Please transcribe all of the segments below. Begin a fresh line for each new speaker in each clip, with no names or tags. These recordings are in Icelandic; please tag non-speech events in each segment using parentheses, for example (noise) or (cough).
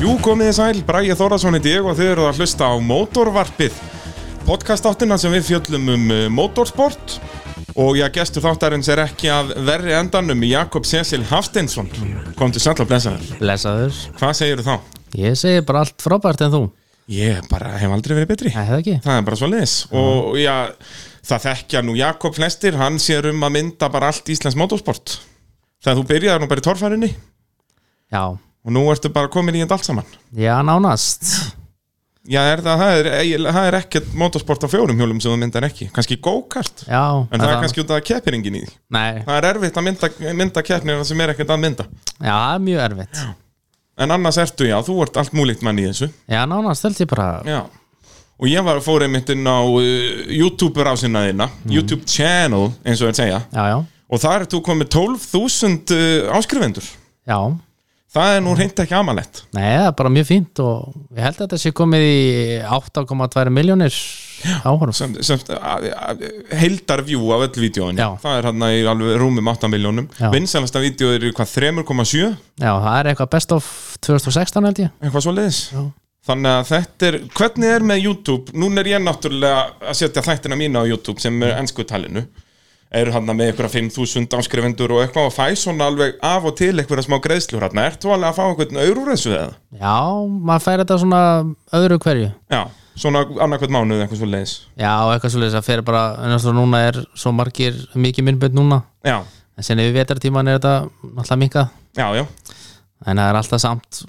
Jú, komið þið sæl, Bræði Þórðarsson heiti ég og þið eru að hlusta á Mótorvarpið podcastáttina sem við fjöllum um eh, mótorsport og já, gestur þáttarins er ekki að verri endanum Jakob Cecil Hafsteinsson kom til sæll og blessaður
Lesaður.
Hvað segir þá?
Ég segi bara allt frábært en þú.
Ég bara hef aldrei verið betri
Það hefði ekki.
Það er bara svo leis og já, það þekkja nú Jakob flestir, hann sér um að mynda bara allt Íslands motorsport Þegar þú byrjaði nú bara í torfærinni
Já,
og nú ertu bara komin í þetta allt saman
já nánast.
Já, er það, það, er, eiginlega- það er ekkert motorsport á fjórum hjólum sem þú myndar ekki kannski go-kart,
Já.
en það, er kannski út af keppiringin í því
Nei,
Það er erfitt að mynda, mynda keppnina sem er ekkert að mynda
já, það er mjög erfitt.
En annars ertu, já, þú ert allt múlíkt mann í þessu
Já, nánast held ég bara.
Já Og ég var fór einmitt inn á uh, YouTube-rásina þína YouTube channel, eins og er segja
Já, já,
Og þar ert þú komið 12.000 uh, áskrifendur
já.
Það er nú reynd ekki amalett
Nei, það er bara mjög fínt og ég held að þetta sé komið í 8,2 miljónir áhorf.
sem, sem, að- að- heildar view af öll vídjóin
Já.
það er hann í alveg rúmum 8 miljónum
Já.
vinsalasta vídjó er hvað 3,7
Já, það er eitthvað best of 2016 held ég.
eitthvað svo leiðis
Já.
þannig að þetta er, hvernig er með YouTube núna er ég náttúrulega að setja þættina mína á YouTube sem er ennsku talinu eru hann með einhverja 5.000 áskrifendur og eitthvað og fæ svona alveg af og til einhverja smá greiðslur hann ert þú alveg að fá einhvern eur úr þessu eða?
Já, maður fær þetta svona öðru hverju.
Já, svona annarkvæmt mánuð eitthvað svo leiðis
Já, og eitthvað svolítið að fyrir bara, en þess að núna er svo margir mikið minnbönd núna.
Já,
En sen yfir vetartíman er þetta náttúrulega minkað.
já, já
en það er alltaf samt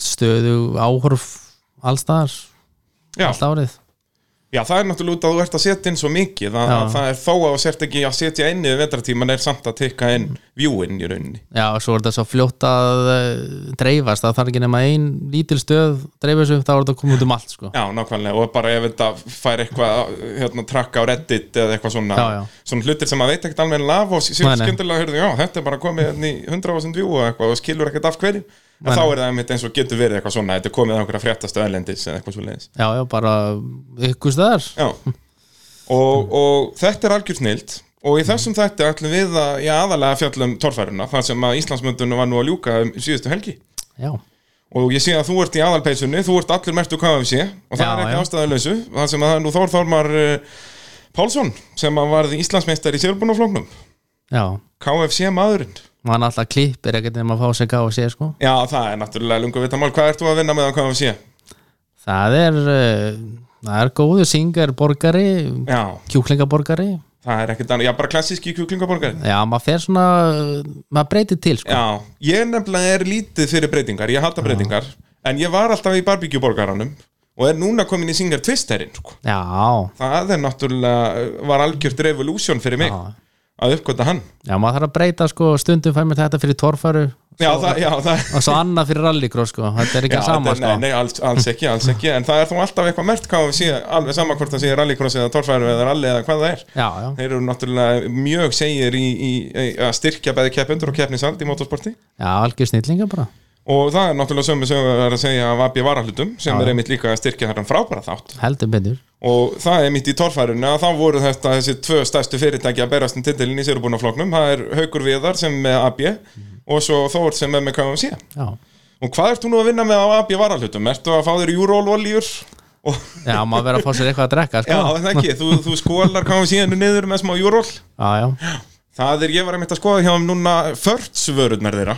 stöðu áhorf allstaðar,
Já,
allt árið
já, það er náttúrulega út að þú ert að setja inn svo mikið að,
Já.
að það er þó að þú sért ekki að setja inn í vetratíman er samt að tekka inn
Mm.
viewin í rauninni
já, og svo er þetta svo fljótt að eh, dreifast, það þarf ekki nema ein lítil stöð dreifast upp, þá er þetta að koma út um allt sko.
Já, nákvæmlega, og bara ef þetta fær eitthvað hérna, trakka á Reddit eða eitthvað svona,
Já, já.
svona hlutir sem maður veit ekkert alveg en laf og
Nei,
síðan
nei.
skyndilega hörðu, já, þetta er bara komið hérna í 100.000 view og eitthvað og skilur ekkert af hverju að þá er það einmitt eins og getur verið eitthvað svona þetta er komið á einhverja fréttastu erlendis eða eitthvað svo leiðis
já, já, bara ykkur stöðar
Já, og, og þetta er algjör snild og í þessum þætti ætlum við að, já, aðalega fjallum torfæruna, þar sem að Íslandsmöndunum var nú að ljúka um síðustu helgi
já,
og ég sé að þú ert í aðalpeysunni, þú ert allir mertu KFC og það
Já,
er ekki
já.
ástæðuleysu það sem að það er nú Þór Þormar uh, Pálsson sem að varði Íslandsmeistar í sérbúnaflóknum
já
KFC maðurinn
mann alltaf klippir ekkert nema að fá sig á og sé sko.
Já, það er náttúrulega lungu vita mál hvað ert þú að vinna með á KFC?
það er eh, það er góðu syngar borgari
Já,
kjúklingaborgari
það er ekkert annað, já, bara klassíski kjúklingaborgar
já, maður fer svona eh, maður breytir til sko.
Já, ég nefnilega er lítið fyrir breytingar, ég hata breytingar en ég var alltaf í barbíkjuborgaranum og er núna komin í Singer Twisterinn sko.
já,
það er náttúrulega, var algjört revolution fyrir mig
Já.
að uppgöta hann
Já, maður þarf að breyta sko, stundum fær mér þetta fyrir torfæru
Já, það, já, það
og svo annað fyrir rallycross sko, þetta er ekki
Já,
já, sama
þetta-
sko.
Nei, nei alls, alls ekki, alls ekki En það er þó alltaf eitthvað mert KFC Alveg sama hvort það sé rallycross eða torfæru eða rally eða hvað það er
Já, já,
Þeir eru náttúrulega mjög segir í, í, í að styrkja bæði keppendur og keppnisald í motorsporti
já, algjör snillinga bara
Og það er náttúrulega sömu sem við erum að segja af Abbi Varahlutum sem
Já.
er einmitt líka að styrkja þarna frábæra þátt
heldur betur,
Og það er einmitt í torfærunni að þá voru þetta þessi tvö stærstu fyrirtæki að berast um titilin í sérubúnafloknum Það er Haukur Viðar sem er með Abbi og svo Þór sem er með KFC
já
Og hvað ert þú nú að vinna með á AB varahlutum? Ertu að fá þér júrólolíur? Og,
Já, maður verður að fá sér eitthvað að drekka
já,
sko.
það ekki, þú, þú skólar káum síðan niður með smá júról
já, já,
Það er, ég var einmitt að skoða hjá um núna förtsvörurnar þeirra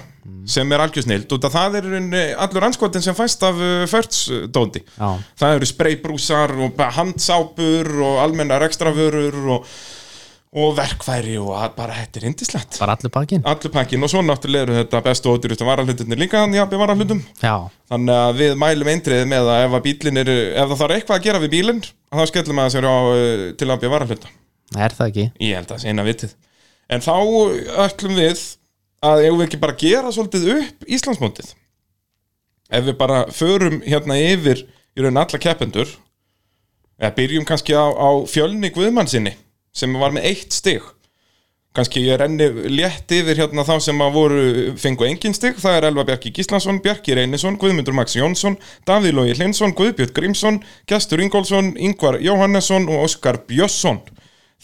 sem er algjör snild og það er í rauninni allur anskotin sem fæst af eh, förtsdóndi
já,
Það eru spreybrúsar og bara handsápur og almennar ekstravörur og, og verkværi og að- bara þetta er indislegt
bara allur pakkin
Allur pakkin og svo náttúrulega eru þetta bestu og ódýrustu varahlutinir líka hann í AB varahlutum
Já,
Þannig að við mælum eindriðið með að ef, að bílinn er, ef það þarf eitthvað að gera við bílinn þá skellum að sér á uh, til að bjöða varahluta
er það ekki
Ég held að það sé eina vitið En þá uh, ætlum við að eigum við ekki bara að gera svolítið upp Íslandsmótið Ef við bara förum hérna yfir í raun alla keppendur eða byrjum kannski á, á fjölni Guðmannsinni sem var með eitt stig kannski ég renni létt yfir hérna þá sem að voru fengu engin stig, það er Elva Bjarki Gíslason Bjarki Reynisson, Guðmundur Max Jónsson Davíð Lógi Hlinsson, Guðbjörn Grímsson Gestur Ingólfsson, Ingvar Jóhannesson og Óskar Bjösson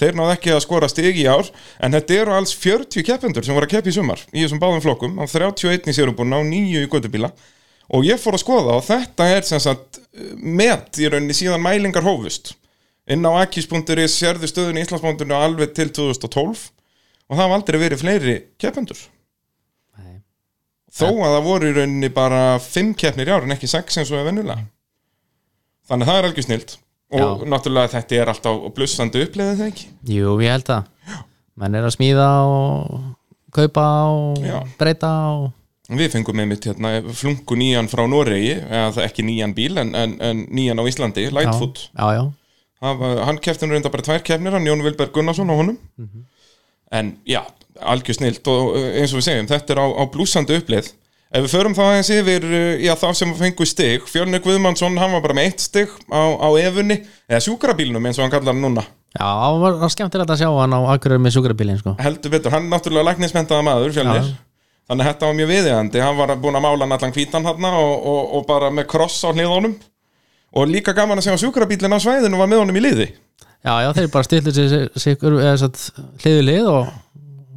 þeir náðu ekki að skora stig í ár en þetta eru alls 40 keppendur sem voru að keppi í sumar í þessum báðum flokkum, á 31 í sérumbúna og 9 í gödubíla og ég fór að skoða og þetta er sem sagt eh, met í rauninni síðan mælingar hófust inn á akis.is sérðu stöðun í Íslandsbóndinu alveg til 2012 og það hafa aldrei verið fleiri keppendur
Nei.
þó að það voru í rauninni bara 5 keppnir í ár en ekki 6 eins og er venjulega þannig að það er algjör snilt og
Mm. Já.
náttúrulega þetta er alltaf blussandi uppleiðið það ekki
Jú, ég held það menn er að smíða og kaupa og
Já.
breyta og
Við fengum einmitt hérna flungu nýjan frá Noregi, eða það er ekki nýjan bíl en, en, en nýjan á Íslandi, Lightfoot
já, já,
Það var- Hann kefti nú reynda bara tvær kefnir, hann Jón Vilberg Gunnarsson á honum En já, algjör snilt og uh, eins og við segjum, þetta er á, á blúsandi upplið Ef við förum þá aðeins yfir, uh, já þá sem við fengum stig Fjölni Guðmannsson, hann var bara með eitt stig á, á efunni Eða sjúkrabílnum eins og hann kallar hann núna
já, það var, var skemmtilegt að sjá hann á akkurir með sjúkrabílinn sko.
Heldur betur, hann er náttúrulega læknismentaða maður fjölnir
Já.
Þannig að þetta var mjög viðiðandi, hann var búin að mála hann allan hvítan hann og, og, og bara með kross á hliðunum Og líka gaman að sjá að sjúkrabílinn á svæðinu var með honum í liði
já, já, þeir bara stillu sig hliðu lið og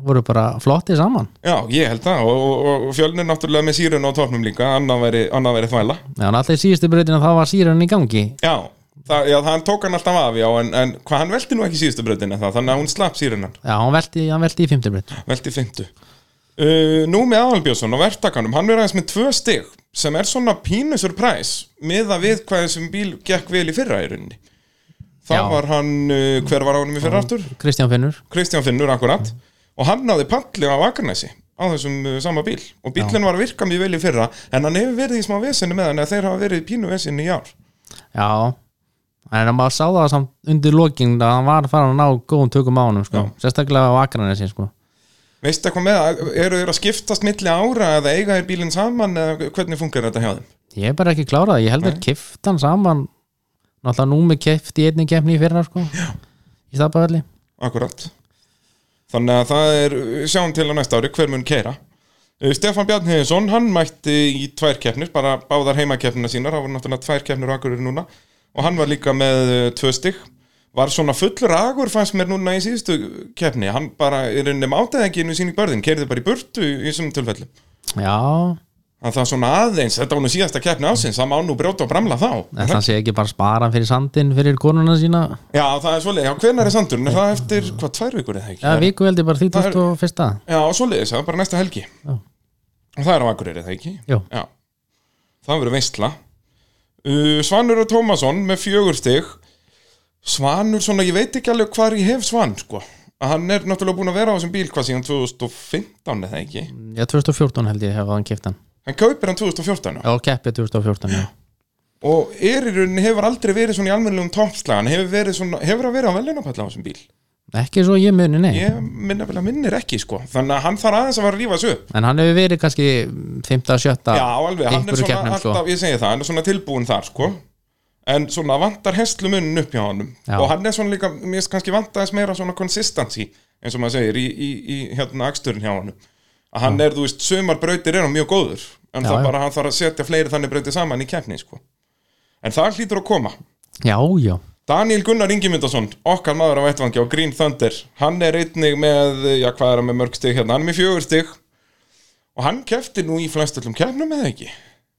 voru bara flotti saman
Já, ég held það og, og, og fjölnir náttúrulega með sírun á topnum líka, annað væri, annað væri þvæla
já, en alltaf í síðustu breytina þá var síran í gangi
Já, það, já, hann tók hann alltaf af já, en, en hvað hann velti nú ekki síðustu bröðin það, þannig að hún slapp sírunan,
já, hann velti, hann velti í fymtu breyt
velti fymtu uh, Nú með Aðalbjörnsson og verktakanum, hann verið aðeins með tvö stig sem er svona pínu surpræs miða við hvað þessum bíl gekk vel í fyrra í rauninni Það
Já.
var hann, uh, hver var á honum í fyrra aftur?
Kristján Finnur
Kristján Finnur akkurat og hann náði palli á Akranesi á þessum uh, sama bíl og bílinn var að virka mjög vel í fyrra en hann hefur verið í smá vesinni með hann eða þeir hafa verið í pínu vesinni í ár
já, en maður sá það samt undir lokin að hann var farin að ná góðum tökum á honum sko. sérstaklega á Akranesi sko.
Veistu eitthvað með, það? eru þeir að skiptast milli ára eða eiga þeir bílinn saman eða hvernig funkar þetta hjá þeim?
Ég er bara ekki klárað, ég held að kiftan saman Náttúrulega númi kift í einni keppni í fyrra sko Já. Í staðbæðalli
Akkurat Þannig að það er, sjáum til á næsta ári hver mun Eh, keira Stefan Bjarnheiðinsson, hann mætti í tvær keppnir, bara báðar heimakeppnina sínar, það voru náttúrulega tvær keppnir akkurir núna og hann var líka með eh, tvö stig var svona fullur agur fannst mér núna í síðustu keppni hann bara, er henni mátaði ekki inn í síning börðin keirði bara í burtu í þessum tilfellum
Já,
að það er svona aðeins, þetta var nú síðasta keppni ásins það má nú brjóta og bramla þá
en það sé ekki bara spara fyrir sandinn fyrir konuna sína
Já, það er svoleiðis, já, hvenær er sandurinn? Er það eftir, hvað, tvær vikur eða ekki?
Já, viku held ég bara
Það er-
31. fyrsta
Já, svoleiðis, það er bara næsta helgi
Já.
Og það er á Akureyri, er það ekki?
Jú,
Já, það verður veistla uh, Svanur og Tómasson með fjögur stig Svanur svona, ég veit ekki alveg hvar ég hef Svan, sko að hann er náttúrulega búin að vera á þessum bíl hvað síðan 2015 eða ekki
já 2014 held ég hefði hann kiftan
hann kaupir hann 2014
Já, keppið 2014 já.
og er í rauninni hefur aldrei verið svona í almennlegum toppslagan hefur, verið svona, hefur að vera á velunapall á þessum bíl
Ekki svo ég muni, nei
ég minna vel að minnir ekki sko þannig að hann þarf aðeins að fara að rífa sig upp
En hann hefur verið kannski 5. 7.
Já, alveg, hann er
einhverju
svona
keppnum, sko.
alltaf, ég segi það, hann er svona tilbúin þar, sko En svona vantar hesslu munn upp hjá honum
Já.
Og hann er svona líka, mér finnst kannski vantaðis meira svona consistency Eins og maður segir, í, í, í hérna aksturinn hjá honum Að hann er, þú veist, sumar brautir er hann mjög góður En
Já,
það
já.
bara, hann þarf að setja fleiri þannig brautir saman í keppni, sko En það hlýtur að koma
Já, já,
Daniel Gunnar Ingimundarsson, okkar maður á vettvangi á Green Thunder, hann er einnig með, já hvað er hann með mörg stig hérna, hann er með fjögur stig og hann kefti nú í flestöllum keppnum eða ekki?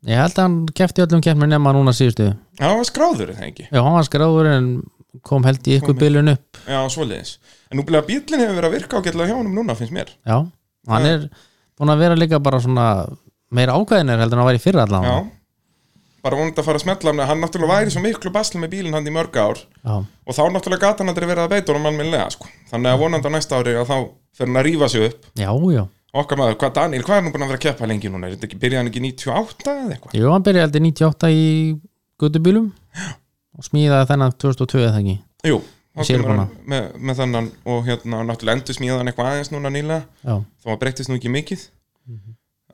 ég held að hann kefti öllum keppnum nema núna síðustu Já,
Já, hann var skráður eða ekki
hann var skráður en kom held í ykkur bylun upp
Já, svoleiðis En nú byrja bílinn hefur verið að virka ágætlega hjá honum núna, finnst mér
Já, hann er búin að vera líka bara svona meira ákveðinir heldur en hann var í fyrra allavega
Já Bara vonandi að fara að smetla hann Hann náttúrulega væri svo miklu basli með bílinn hann í mörg ár
Já,
Og þá náttúrulega gata hann aldrei verið að beita honum almennilega sko. Þannig að vonandi á næsta ári að þá fer hann að rífa sig upp
já, já.
Okkar maður, hvað Daniel, hvað er nú búin að vera að keppa lengi núna? Er þetta ekki, byrja hann ekki í 98 eða eitthvað?
Jú, hann byrjaði heldur 98 í gutubílum og smíðaði þennan 2002 eða ekki
Jú, þá
Sér
kemur
búin
hann með, með þennan og hérna náttúrulega endur smíðan eitthvað aðeins núna nýlega
Já,
þá að breytist nú ekki mikið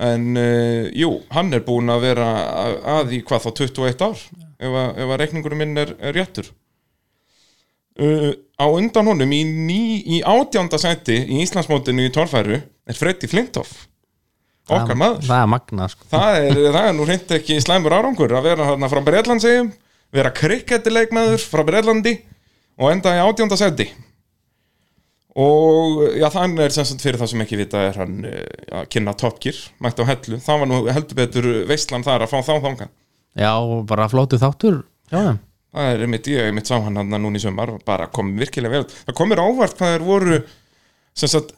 en uh, jú, hann er búin að vera að, að í hvað þá 21 ár ef að, ef að reikningurum minn er, er réttur uh, á undan honum í, ný, í átjánda sæti í Íslandsmótinu í torfæru er Freddy Flintoff okkar
það,
maður
Það er magna, sko
það er, það er nú reynd ekki slæmur árangur að vera þarna frá Breitlandsegjum vera krikketileikmaður frá Breitlandi og enda í átjánda seti og já, þann er sem sagt fyrir það sem ekki vita er hann eh, að kynna Top Gear, mætt á hellu, það var nú heldur betur veistlan þar að fá þá þangan
Já, og bara flótu þáttur Já, þeim
það er einmitt, ég einmitt sá hann hann núna í sömar og bara kom virkilega vel, út. það komir ávart hvað þeir voru sem sagt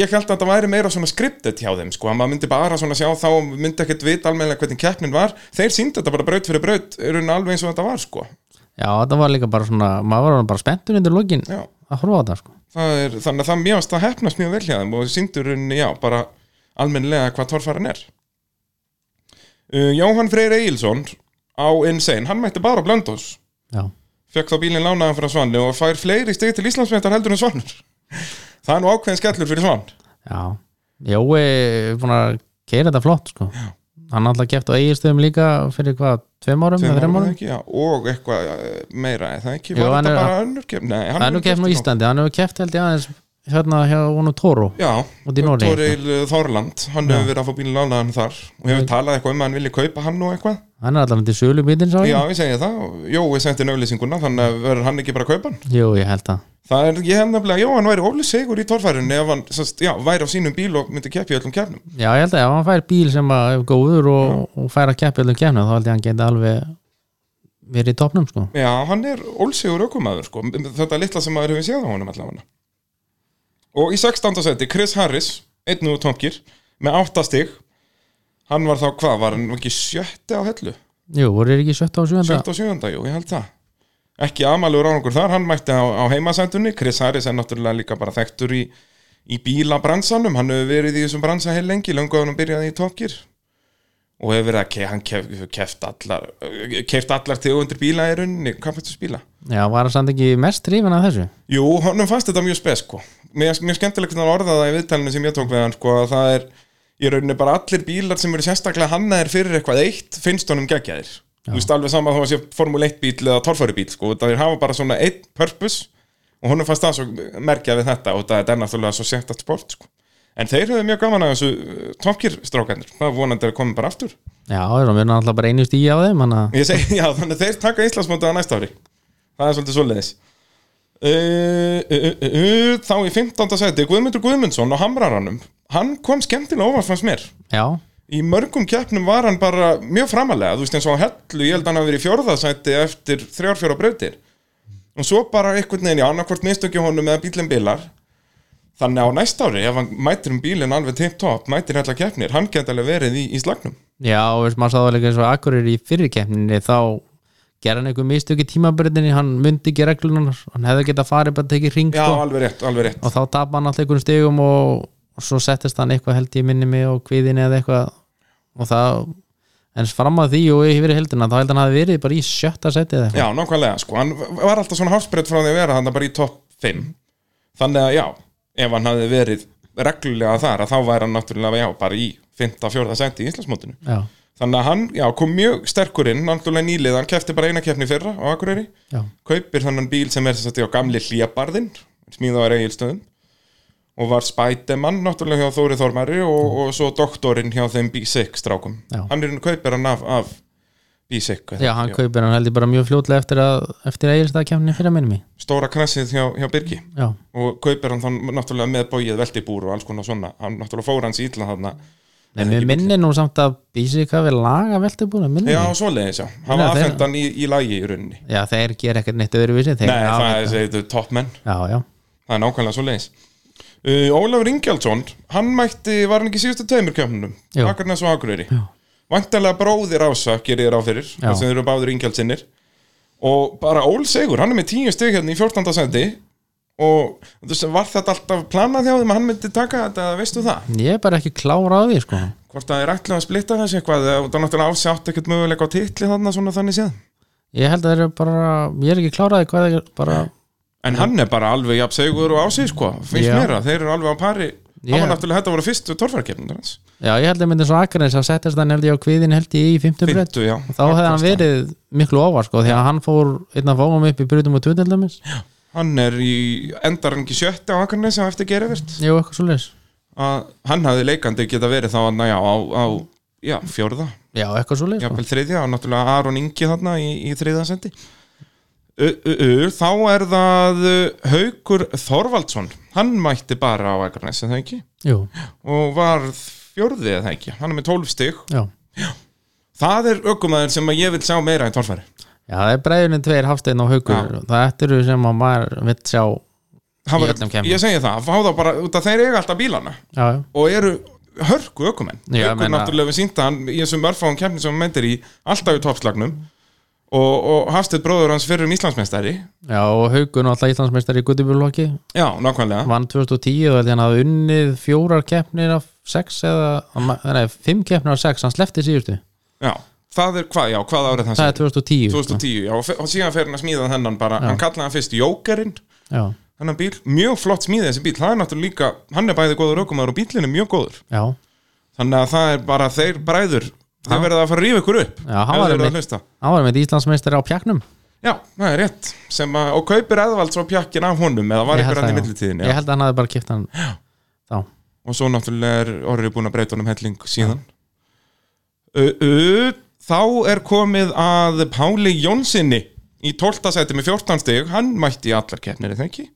ég held að það væri meira svona skriptet hjá þeim sko, að maður myndi bara svona sjá þá og myndi ekkert vita almennilega hvernig keppnin var þeir síndi þetta bara braut fyrir braut, er hún alveg eins og þetta var sko,
Já, þetta var líka bara svona, maður var bara spenntur undir lokin
já
að horfa á þetta sko.
það er, þannig að það mjög að hefnast mjög vel hjá þeim og síndurinn, já, bara almennilega hvað torfaran er uh, Jóhann Freyr Egilson á Insane, hann mætti bara á Blöndos
Já,
fekk þá bílinn lánaðan frá Svanni og fær fleiri stig til Íslandsmeistar heldur en Svannur það er nú ákveðin skellur fyrir Svann
já Jói er búin að keira þetta flott sko. Hann alltaf keft á eiginstöðum líka fyrir hvað, tveim árum, eða
Tveim
þreim
árum,
árum
ekki, já, og eitthvað eh, meira er það ekki,
Jú,
var
hann
þetta
er-
bara önnur kemd Nei,
Það er nú keft nú
í
Íslandi, hann hefur keft held ég aðeins hérna hjá honum Toro
Já,
út í Noregi sko.
Toril eh, Þorland, hann hefur verið að fá bílinn lánaðan þar og hefur talað eitthvað um að hann vilja kaupa hann og eitthvað
Hann er alltaf til sölu bílinn sá
Já,
ég
ég segi það, og Jói sendi nöflýsinguna þannig að verður hann ekki bara að kaupa hann
Jú, ég held það
Það er, ég hef nefnilega, Jó, hann væri oflið sigur í torfærunni ef hann, sest, já, væri á sínum bíl og myndi keppi öllum kefnum
Já, ég held að ef hann fær bíl sem að er góður og, og fær að keppi öllum kemna þá held ég að hann geti alveg verið í topnum sko.
Já, hann er ólsigur ökumæður, sko þetta litla sem maður hefur séð á honum allavega Og í 16. seti, Chris Harris einn og tónkir, með 8 stig Hann var þá, hvað, var hann ekki sjötti á hellu?
Jú, voru þeir ekki 17 og 17
Sjötta og sjöunda, jú, ég held það Ekki amalur árangur þar, hann mætti á, á heimasendunni Chris Harris er náttúrulega líka bara þekktur í, í bílabransanum Hann hefur verið í þessum bransa heil lengi Löngu að hann byrjaði í topkir Og hefur verið að ke hann kef, keft allar Keft allar tegundir bíla í rauninni Kampatus bíla
Já, var hann samt ekki mest hrifin af þessu
Jú, honum fannst þetta mjög spes sko Mér, mér skemmtilegt að orða það í viðtælinu sem ég tók við hann sko að það er í rauninni bara allir bílar sem eru sérstaklega hannaðir fyrir eitthvað eitt finnst honum geggjaðir Þú veist alveg sama þó að sé formule 1 bíl eða torfari bíl sko það er hafa bara svona eitt purpose og honum fannst það svo merkja við þetta og það er náttúrulega svo sérstakt sport sko En þeir höfðu mjög gaman að þessu eh, topkir strákanir það er vonandi að koma bara aftur
Já, þeir eru alltaf bara einu stíi á þeim hann að
Ég segi, (laughs) já, þannig að þeir taka Íslandsmótið að næsta ári Það er svolítið svoleiðis uh, uh, uh, uh, Þá í 15. seti Guðmundur Guðmundsson á Hamraranum Hann kom skemmtilega óvart fannst mér
Já,
Í mörgum keppnum var hann bara mjög framalega Þú veist eins og á hellu, ég held að hann hafi verið í fjórða seti Eftir þrjár fjóra brautir Og svo bara einhvern veginn í annarkvort mistökja honum Eða bílinn bilar Þannig á næsta ári, ef hann mætir um bílinn alveg tip-top, mætir allar keppnir, hann geti alveg verið í, í slagnum.
já, og veist, maður sá það líka eins og Akkurir í fyrirkeppninni þá gerði hann einhver mistök í tímabröðinni hann myndi ekki reglunar, hann hefði getað farið bara tekið ring
Já,
sko,
alveg rétt, alveg rétt.
og þá tapa hann alltaf einhverjum stigum og, og svo settist hann eitthvað held ég minni mig og kviðin eða eitthvað og það, en fram að því og yfir heldina, þá held hann hafi verið bara í sjötta setið eða eitthvað,
Já, nákvæmlega, sko, hann var alltaf svona hafsbreytt frá því að vera hann bara í topp 5 þannig að já, ef hann hafði verið reglulega þar að þá væri hann náttúrulega, já, bara í 5-4 senti í Íslandsmótinu
já,
þannig að hann, já, kom mjög sterkur inn náttúrulega nýlið, hann kefti bara eina keppni í fyrra á Akureyri,
já,
kaupir þannan bíl sem er þess að á gamli hlíabarðinn smíða á Egilstöðum og var Spædemann náttúrulega hjá Þóri Þormari og, og svo doktorinn hjá þeim B6 strákum,
Já.
hann er kaupir hann af, af B6 hvað
já,
heitir,
hann kaupir hann held ég bara mjög fljótlega eftir að, eftir að eiginstæða kemni fyrir að minni mig,
stóra knessið hjá, hjá Birgi
já,
og kaupir hann þann náttúrulega með bóið veltibúr og alls konar svona hann náttúrulega fór hans í illa þarna
en við minni nú samt að Bísik hafi laga veltubúna, minni
já,
mig.
svoleiðis, já, hann
Mm. Nei,
var
þeir-
aðfend hann í, í lagi í rauninni
já, þeir gera ekkert neitt öðruvísi þeir,
nei,
já,
það er þetta er top menn,
já, já,
það er nákvæmlega svoleiðis uh, Ólafur Ingjaldsson hann mætti, var hann ekki í síðustu tveimur kjöfnunum
Jú.
Akarnes og Akureyri
Já.
vantarlega bróðir ása, gerir þér á fyrir
Já.
þess að þeir eru báðir Ingjaldsinnir og bara ólsegur, hann er með tíu stig hérna í 14. sendi og þú veist, var þetta alltaf planað hjá þeim að hann myndi taka þetta, veistu það?
ég er bara ekki klára á því sko.
hvort að þeir ætla að splitta þessu eitthvað eða- og það náttúrulega ási átt ekkert möguleika á titli þarna svona þannig séð
ég held að þeir eru bara ég er ekki klára á því hvað þeir bara
en hann er bara alveg jafn segur og ási sko, finnst
Já.
mér að þeir eru alveg á pari
Já.
hann var náttúrulega þetta voru fyrstu torfarkeppnir hans
Já, ég held að myndi svo Akranes að settast hann held ég á kviðin held ég í 50 brett
Fyndu, já
þá hefði hann verið miklu óvar sko því að hann fór einn að fórum upp í brutum og tundildumis
hann er í endar hann ekki sjötti á Akarnes sem eftir gerivert
Jú, eitthvað svo leis
að hann hafði leikandi geta verið þá hann já, á, á já, fjórða
Já, eitthvað svo leis sko.
jafnvel þriðja og náttúrulega Aron Ingi þarna í, í þriðja sendi U, u, u, þá er það uh, Haukur Þorvaldsson hann mætti bara á Akranes er það ekki
Jú,
og var fjórði eða ekki, hann er með 12 stig
já
það er ökumæður sem að ég vil sjá meira en torfæri
Já, það er breiðunni tveir hafsteinn og haukur Það eftir eru sem að maður vill sjá
Það
Í
var-
öllum keppnum.
ég segi það, fá þá bara út að þeir eiga alltaf bílana
Já,
og eru hörku ökumenn
Já,
Haukur
meina-
náttúrulega við sínta hann í þessum örfáum keppnum sem hann meintir í alltaf í toppslagnum og, og Hafstedt bróður hans fyrir um Íslandsmeistari
já og haukur náttúrulega Íslandsmeistar í Gutibjörnlokki
já, nákvæmlega
vann 2010 og held ég hann hafði unnið fjórar keppnir af sex eða, nei, fimm keppnir af sex hann slefti síðustu,
já, það er hvað, já, hvað árið þannig
það er 2010
2010, já, og fe- og síðan fer hann að smíða þennan bara, hann kallaði hann fyrst Jókerinn
Já,
þennan bíl, mjög flott smíði þessi bíl það er náttúrulega líka, hann er bæði góður ökumæður og bílinn er mjög góður,
já,
þannig að það er bara þeir bræður, þeir verða að fara að rífa ykkur upp
Já, hann
ef
var
þeir eru að
einmitt-
hlusta
hann var með Íslandsmeistar á pjaknum
já, það er rétt, sem að, og kaupir eðvalds á pjakkin af honum, eða var
Ég held
ykkur hann í
það, já.
millitíðin,
Ég
já,
held að hann hafði bara kipt hann þá,
og svo náttúrulega er orðið búin að breyta honum helling síðan ö, ö, þá er komið að Páli Jónsini í 12. seti með 14 stig hann mætti í allar keppnir, er það ekki?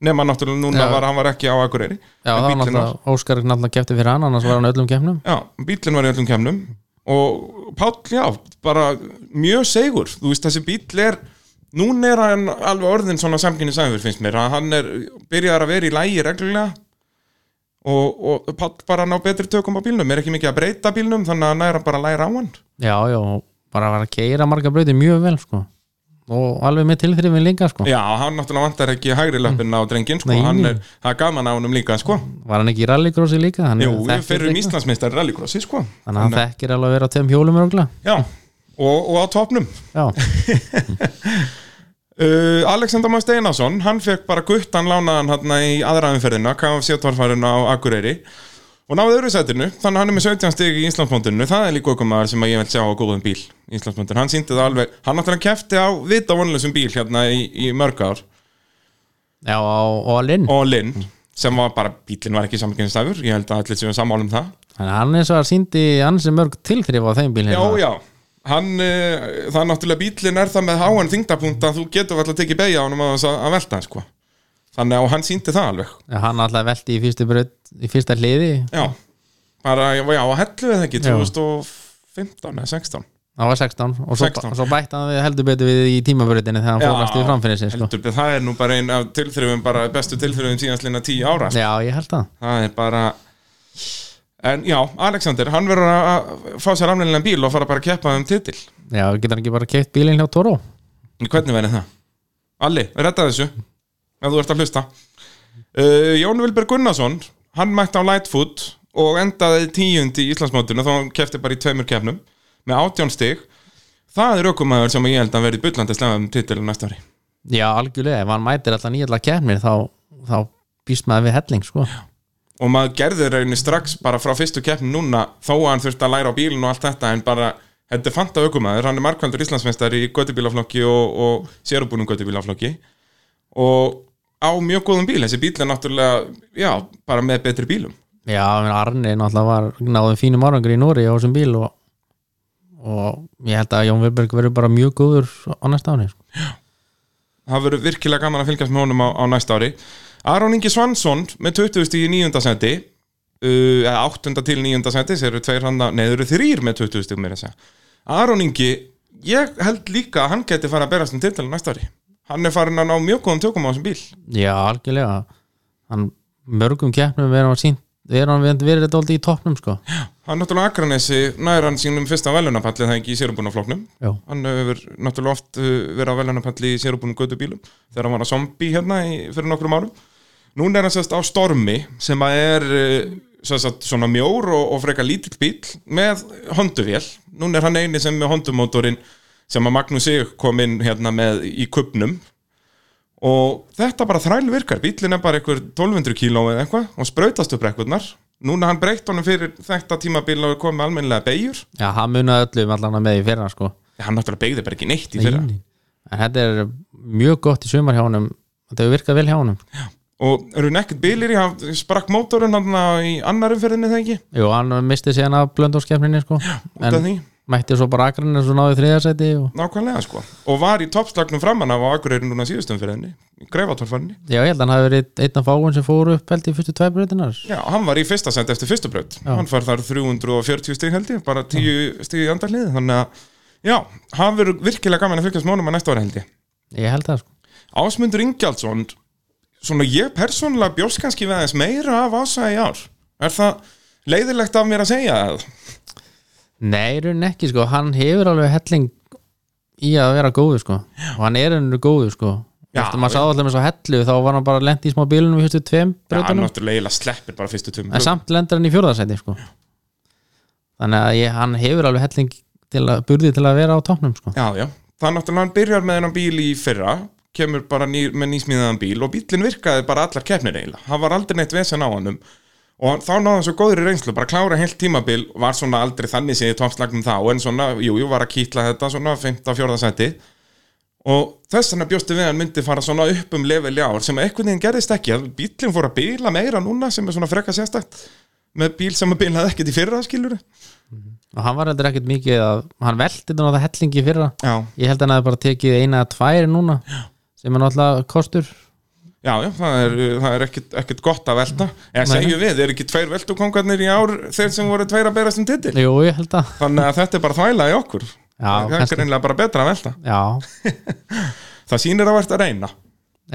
nema náttúrulega núna
Já.
var hann var ekki á Akureyri
já
En
það var
bíllinn
náttúrulega Óskar náttúrulega kefti fyrir hann, annars var hann á öllum keppnum
Já, bílinn var í öllum kemnum og Páll, já, bara mjög segur, þú veist þessi bíl er núna er hann alveg orðin svona samkynni sæður finnst mér, að hann er byrjar að vera í lægi reglulega og, og Páll bara ná betri tökum á bílnum, er ekki mikið að breyta bílnum þannig að hann er að bara læra á hann
Já, já, og bara var að keira marga brauti mjög vel, sko og alveg með tilþrifin líka, sko
Já, hann náttúrulega vantar ekki hægri löppin á drengin, sko,
Nei,
hann
nei.
er, það er gaman á honum líka, sko
Var hann ekki í rallycrossi líka? Hann
Jú, við
þekkir
fyrir um
líka.
Íslandsmeistar rallycrossi, sko
Þannig að hann þekkir alveg að vera á tveim hjólum örgla
Já, og, og á topnum
Já,
(laughs) Uh, Alexander Már Steinasson, hann fekk bara guttan lánaðan hann í aðra umferðina KFC-torfarinn á Akureyri og náði öðru sætinu, þannig að hann er með 17 stig í Íslandsmóndinu, það er líka okkur maður sem að ég vil sjá á góðum bíl í Íslandsmóndinu, hann síndi það alveg hann náttúrulega kefti á vita vonlösum bíl hérna í, í mörg ár
já á Olin
og Linn, sem var bara, bílinn var ekki samkynstafur, ég held að allir séu sammála um það
Þannig að hann eins og að síndi ansi mörg tilþrif á þeim bíl hérna.
Já, já, hann, uh, það er náttúrulega bílinn er það með háan þingdapunkt að þú getur alltaf tekið beigja á honum að, að velta, sko. Þannig að hann síndi það alveg
Hann alltaf velti í fyrstu braut, í fyrsta hliði
Já, bara, já, já, hellu við það ekki
Já.
2015 eða 16
Það var 16 og svo,
16.
svo bætti hann við heldur betur við í tímabrautinni þegar hann
Já,
fór næstu í framfinni sér sko.
heldur, betur, Það er nú bara ein af tilþrifum, bara bestu tilþrifum síðanslina 10 ára sko.
Já, ég held það
Það er bara En já, Alexander, hann verður að fá sér afnilinlega bíl og fara bara að keppa um titil
Já, getur hann ekki bara keitt bílinn hjá Toro
En Hvernig verður það? Alli, redda þessu ef þú ert að hlusta uh, Jón Vilberg Gunnarsson, hann mætti á Lightfoot og endaði tíundi í Íslandsmótinu þá hann kefti bara í tveimur kefnum með átjón stig það er ökumæður sem ég held að verði bullandi slæðum titil næsta ári
Já, algjörlega, ef hann mætir alltaf nýjallega kemnir þá, þá býst maður við helling sko.
og maður gerði reyni strax bara frá fyrstu keppni núna þó að hann þurfti að læra á bílinu og allt þetta en bara, þetta er fanta aukumæður hann er markvældur Íslandsmeistari í göttubílaflokki og, og sérubúnum göttubílaflokki og á mjög góðum bíl þessi bíl er náttúrulega, já, bara með betri bílum
Já, ég meina, Arni náttúrulega var náðum fínum árangri í Nóri á þessum bíl og, og ég held að Jón Vilberg verður bara mjög góður á næsta ári sko.
það verður virkilega gaman að fylgjast með honum á, á næsta ári Aron Ingi Svansson með 20 stig í 9. seti uh, eða 8. til 9. seti þeir eru tveir handa, nei þeir eru þrýr með 20 stig meira að segja. Aron Ingi ég held líka að hann geti fara að berast um titil næsta ári, hann er farin að ná mjög góðum tökum á þessum bíl
Já, algjörlega hann mörgum keppnum verður hann sínt verður hann verið- verið þetta alltaf í toppnum sko.
hann náttúrulega Akranesi nær hann sínum fyrsta velunapalli það ekki í sérumbúnafloknum
Já,
hann hefur náttúrulega oft uh, verið á velunapalli í sérubunum gödubílum þegar hann var að zombi hérna í, fyrir nokkrum árum núna er hann sérst á Stormi sem að er uh, sérst svona mjór og, og frekar lítill bíl með honduvél, núna er hann eini sem með hondumótorinn sem að Magnús Sig kom inn hérna með í kubnum og þetta bara þræl virkar bílinn er bara einhver 1200 kíló eða eitthvað og sprautast upp rekkurnar núna hann breytt honum fyrir þetta tímabil og er komið almennilega beigjur
já hann munaði öllum allan með í fyrra sko.
hann náttúrulega beigði bara ekki neitt í fyrra
Nei, nei. En þetta er mjög gott í sumar hjá honum þetta hefur virkað vel hjá honum
og eru nekkert bilir í, hann sprakk mótorinn hann í annar umferðinni þegar ekki,
Jú, hann misti síðan af blöndóskefninni sko.
út af
en
því
mætti svo bara Akranes og náði þriðarsæti og
nákvæmlega sko og var í toppslagnum framann af Akureyri núna síðustum fyrir henni í greifatólfanni
já, ég held að hann hafi verið einn af fáin sem fóru upp held í fyrstu tvær breytinar
Já, hann var í fyrsta send eftir fyrstu braut
Já.
hann fær þar 340 stig held ég bara 10 stig í andarlið þannig að já, hann verður virkilega gaman að fylgjast mónum að næsta ára held ég
ég held það sko
Ásmundur Ingjaldsson svona ég persónulega bjóst kannski við aðeins meira af ása í ár er það leiðilegt af mér að segja það?
Nei, í rauninni ekki sko, hann hefur alveg helling í að vera góður sko og hann er henni góður sko
Já,
Eftir maður sá alltaf með svo hellu þá var hann bara lent í smá bílunum í fyrstu tveim
Já, hann
breytunum
náttúrulega eiginlega sleppir bara fyrstu tveim
en samt lendur hann í fjórðarsæti sko þannig að ég, hann hefur alveg helling til að, burði til að vera á toppnum sko
Já, já, það er náttúrulega hann byrjar með hennan bíl í fyrra kemur bara ný, með nýsmíðaðan bíl og bílinn virkaði bara allar keppnir eiginlega hann var aldrei neitt vesen á hannum og hann- þá náði hann svo góður í reynslu, bara klára heilt tímabil var svona aldrei þannig séð í toppslagnum þá en svona, jú, jú, var að kýtla þetta svona 15-14 seti og þess vegna bjóstu við að hann myndi fara svona upp um level í ár sem eitthvað neginn gerðist ekki að bílinn fór að bíla meira núna sem er svona freka sérstakt með bíl sem að bílaði ekkert í fyrra skilur
og hann var heldur ekkert mikið að hann veldi þannig að það hellingi fyrra
Já,
ég held að hann hafi bara tekið eina að tvær núna Já. sem er náttúrulega kostur
Já, já, það er, það er ekkit, ekkit gott að velta Eða
Nei.
segjum við, er ekki tveir veldukongarnir í ár þeir sem voru tveir að berast um titil
Jú, ég held að
Þannig að þetta er bara þvæla í okkur Það er
kannski.
greinlega bara betra að velta
Já,
Það sýnir að verða að reyna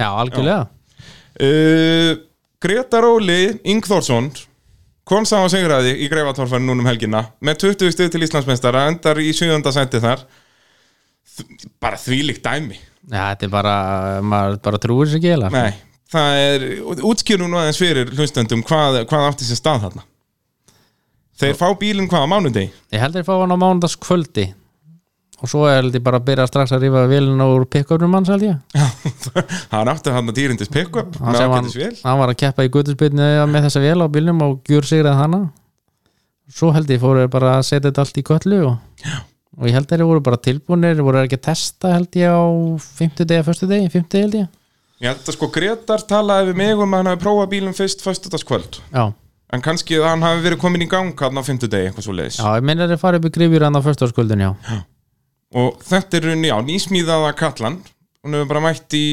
já algjörlega
uh, Gretar Óli Ingþórsson kom sá að sigraði í greifatorfarinn núna um helgina með 20 stuð til Íslandsmeistara endar í 7. sendi þar Þ- bara þvílíkt dæmi
Já, þetta er bara, maður bara trúir sér ekki heila
Nei, það er útskýrum nú aðeins fyrir hlustendum hvað, hvað átti sér stað þarna Þeir fá bílinn hvað á mánudegi
Ég held að ég fá hann á mánudagskvöldi og svo er þetta bara að byrja strax að rífa vélina úr pick-upnum hans held ég
(laughs) Hann átti hann að dýrindis pick-up
hann,
með
sem hann,
ágætis vel
hann var að keppa í guttusbyrni með þessa vél á bílnum og gjur sigraði hana svo held ég fóru þeir bara að setja þetta allt í köllu og, og ég held að þeir voru bara tilbúinir voru þeir ekki að testa held ég á 50 degi, 1. degi, 50 held ég
Ég held að sko Gretar talaði við mig um að hann hafi prófað bílinn fyrst föstudagskvöld
Já,
En kannski að hann hafi verið komin í gang hann á fimmtudegi eitthvað svo leiðis
já ég meina þeir fara upp í grifjur hann á föstudagskuldun já.
Og þetta er runni á nýsmíðaða kallan Hún hefur bara mætt í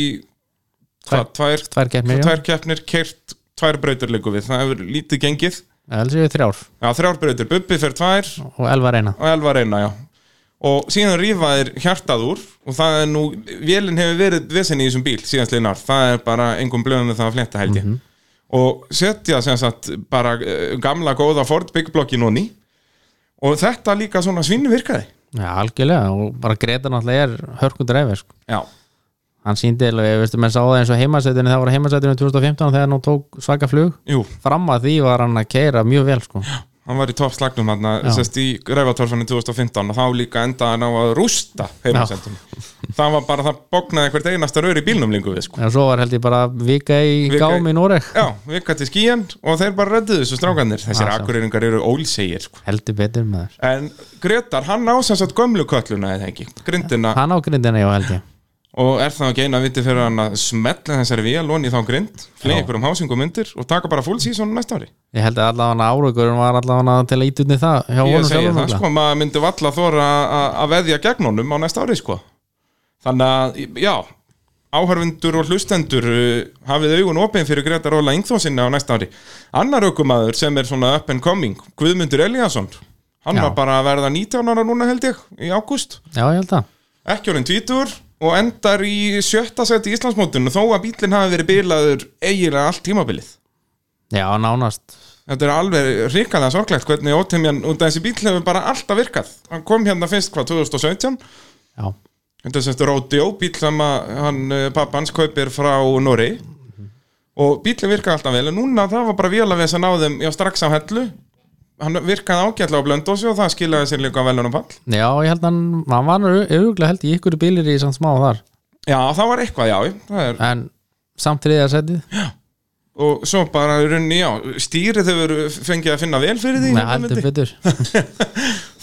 hvað, tvær,
tvær keppnir já.
tvær keppnir, kert tvær brautir liggur við Það hefur lítið gengið
Alls ég þrjár
Já, þrjár brautir, Bubbi fer tvær
og elvar eina
og elva reyna, já og síðan rífa þeir hjartað úr og það er nú, vélinn hefur verið vesen í þessum bíl síðan sliðnar, það er bara engum blöðum við það að fletta held ég og setja sem sagt bara uh, gamla góða Ford byggblokkinn og ný og þetta líka svona svinni virkaði
Já, algjörlega og bara Greta náttúrulega er hörkundreifi sko.
já,
hann síndi alveg, veistu, menn sá það eins og heimasætinu það voru heimasætinu 2015 þegar hann tók svaka flug
jú,
fram að því var hann að keira mjög vel sko.
hann var í toppslagnum hann
Já.
sérst í ræfatorfannu 2015 og þá líka endaði hann á að rústa heimasendunum, það var bara það bóknaði hvert einasta rör í bílnum líku við sko
en svo var held ég bara vika í
Vika í-
gám í Noreg
Já, vika til skíjan og þeir bara rödduðu þessu strákanir Þessir
Ah,
ah,
sjá.
akureyringar eru ólsegir sko.
heldur betur með þess
En Gretar, hann á sem sagt gömlu kölluna eða ekki, grindina
hann á grindina já held ég
og er það ekki eina viti fyrir hann að smetla þessari vél onni þá grind, flegi
Já.
ykkur um hásingum undir og taka bara full season næsta ári
ég held að allavega áraugur var allavega til að ít unni það
Ég
hjá honum
segi
sjálfum
það
náttúrulega.
sko, maður myndi valla þóra að veðja gegn honum á næsta ári sko Þannig að, já, áhörfundur og hlustendur uh, hafið augun opinn fyrir Gretar Óla Ingþósinni á næsta ári Annar aukumaður sem er svona up and coming, Guðmundur Eliasson Hann
Já.
var bara að verða 19 ára núna held ég, í ágúst
já ég held að
Ekki orðin tvítur og endar í sjötta seti í Íslandsmótinu þó að bílinn hafi verið bilaður eiginlega allt tímabilið
já nánast
Þetta er alveg ríkalega sorglegt hvernig ótemjan út af þessi bíl hefur bara alltaf virkað. Hann kom hérna fyrst hvað 2017,
já
þetta er semst Rodeo bíl sem að hann, pappa hans kaupir frá Norei og bílinn virkaði alltaf vel en núna það var bara vélavesa náðum já, strax á hellu. Hann virkaði ágætlega á blöndósi og það skilaði sér líka velun og pall.
já ég held að hann, hann var auðvitað held ég ykkur bílir í samt smá þar
Já, það var eitthvað, já, það er
en samt þriðarsætið
og svo bara í rauninni, já, stýrið hefur fengið að finna vel fyrir því.
Nei,
hérna myndi.
heldur betur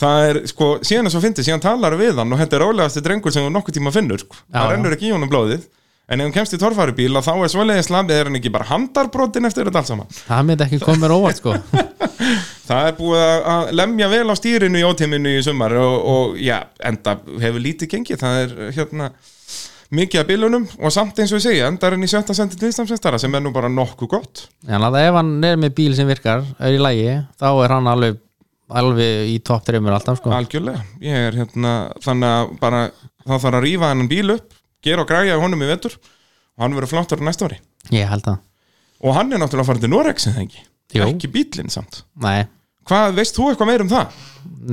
það er sko, síðan er svo fyndið, síðan talar við hann og þetta er rólegasti drengur sem þú nokkuð tíma finnur sko. það
já.
rennur ekki í honum blóðið en ef hann kemst í torfarubíl þá er svoleiðis labið er hann ekki bara handarbrotin eftir þetta allt saman
það myndi ekki koma mér óvart sko
Það er búið að- að lemja vel á stýrinu í ótíminu í sumar og, og já, enda hefur lítið gengið, það er hérna mikið af bilunum og samt eins og ég segja, endar hann í sjötta sendið Íslandsmeistara sem er nú bara nokkuð gott
en að ef hann er með bíl sem virkar er í lægi, þá er hann alveg alveg í topp treymur alltaf sko.
Algjörlega, ég er hérna þannig að bara þá þarf að rífa hennan bíl upp gera og græja í honum í vetur og hann verður flottur á næsta ári
ég held það,
og hann er náttúrulega farin til Norex en það ekki
Jú.
ekki bílinn samt
nei
Hvað, veist þú eitthvað meir um það?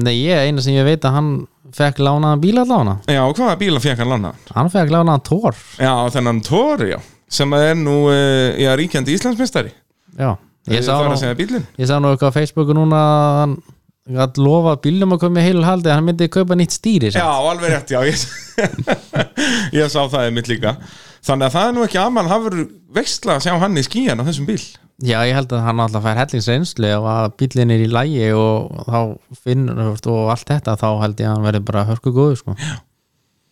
nei, ég eina sem ég veit að hann fekk lánaðan bíl allavega,
Já, og hvaða bíla fekk hann lana?
hann fekk lánaðan tór
Já, þennan Tori, já sem að er nú, eh, já, ríkjandi Íslandsmeistari
já, ég
Það
sá
er
nú
að segja bílinn
ég sá nú eitthvað á Facebooku núna að hann að lofa bílnum að koma í heilu haldi að hann myndi kaupa nýtt stýri
Já,
sem.
alveg rétt, já Ég, ég (laughs) sá það einmitt líka Þannig að það er nú ekki amal hafur veistla að sjá hann í skíjan á þessum bíl
já, ég held að hann alltaf fær hellingsreynslu og að bílinn er í lægi og þá finnur þú veist, og allt þetta þá held ég að hann verði bara hörku góðu sko.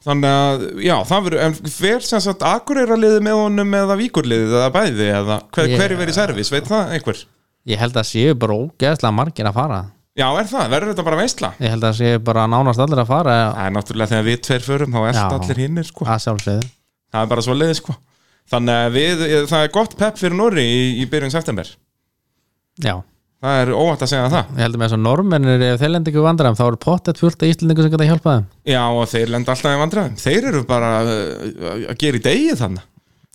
Þannig að, já, það verður, en hver sem sagt akureyra liði með honum eða víkurliðið eða bæði eða hver,
Ég-
yeah. hverju verið í servis, veit það einhver?
ég held að séu bara ógeðslega margir að fara
Já, er það, verður þetta bara veistla?
ég held að séu bara nánast allir að fara
Það er náttúrulega þegar við tveir förum, þá
Já.
erst allir hinnir, sko.
að sjálfsögðu
Það er bara svo leiði, sko. Þannig að við, eh, það er gott pepp fyrir Norri í, í byrjun september.
já,
Það er óvægt að segja það.
ég held að með þessu normennir ef þeir lendi ekki vandram þá eru pottet fullt af íslendingu sem geta hjálpað þeim
Já, og þeir lenda alltaf í vandræðum. Þeir eru bara uh, að gera í degi þannig.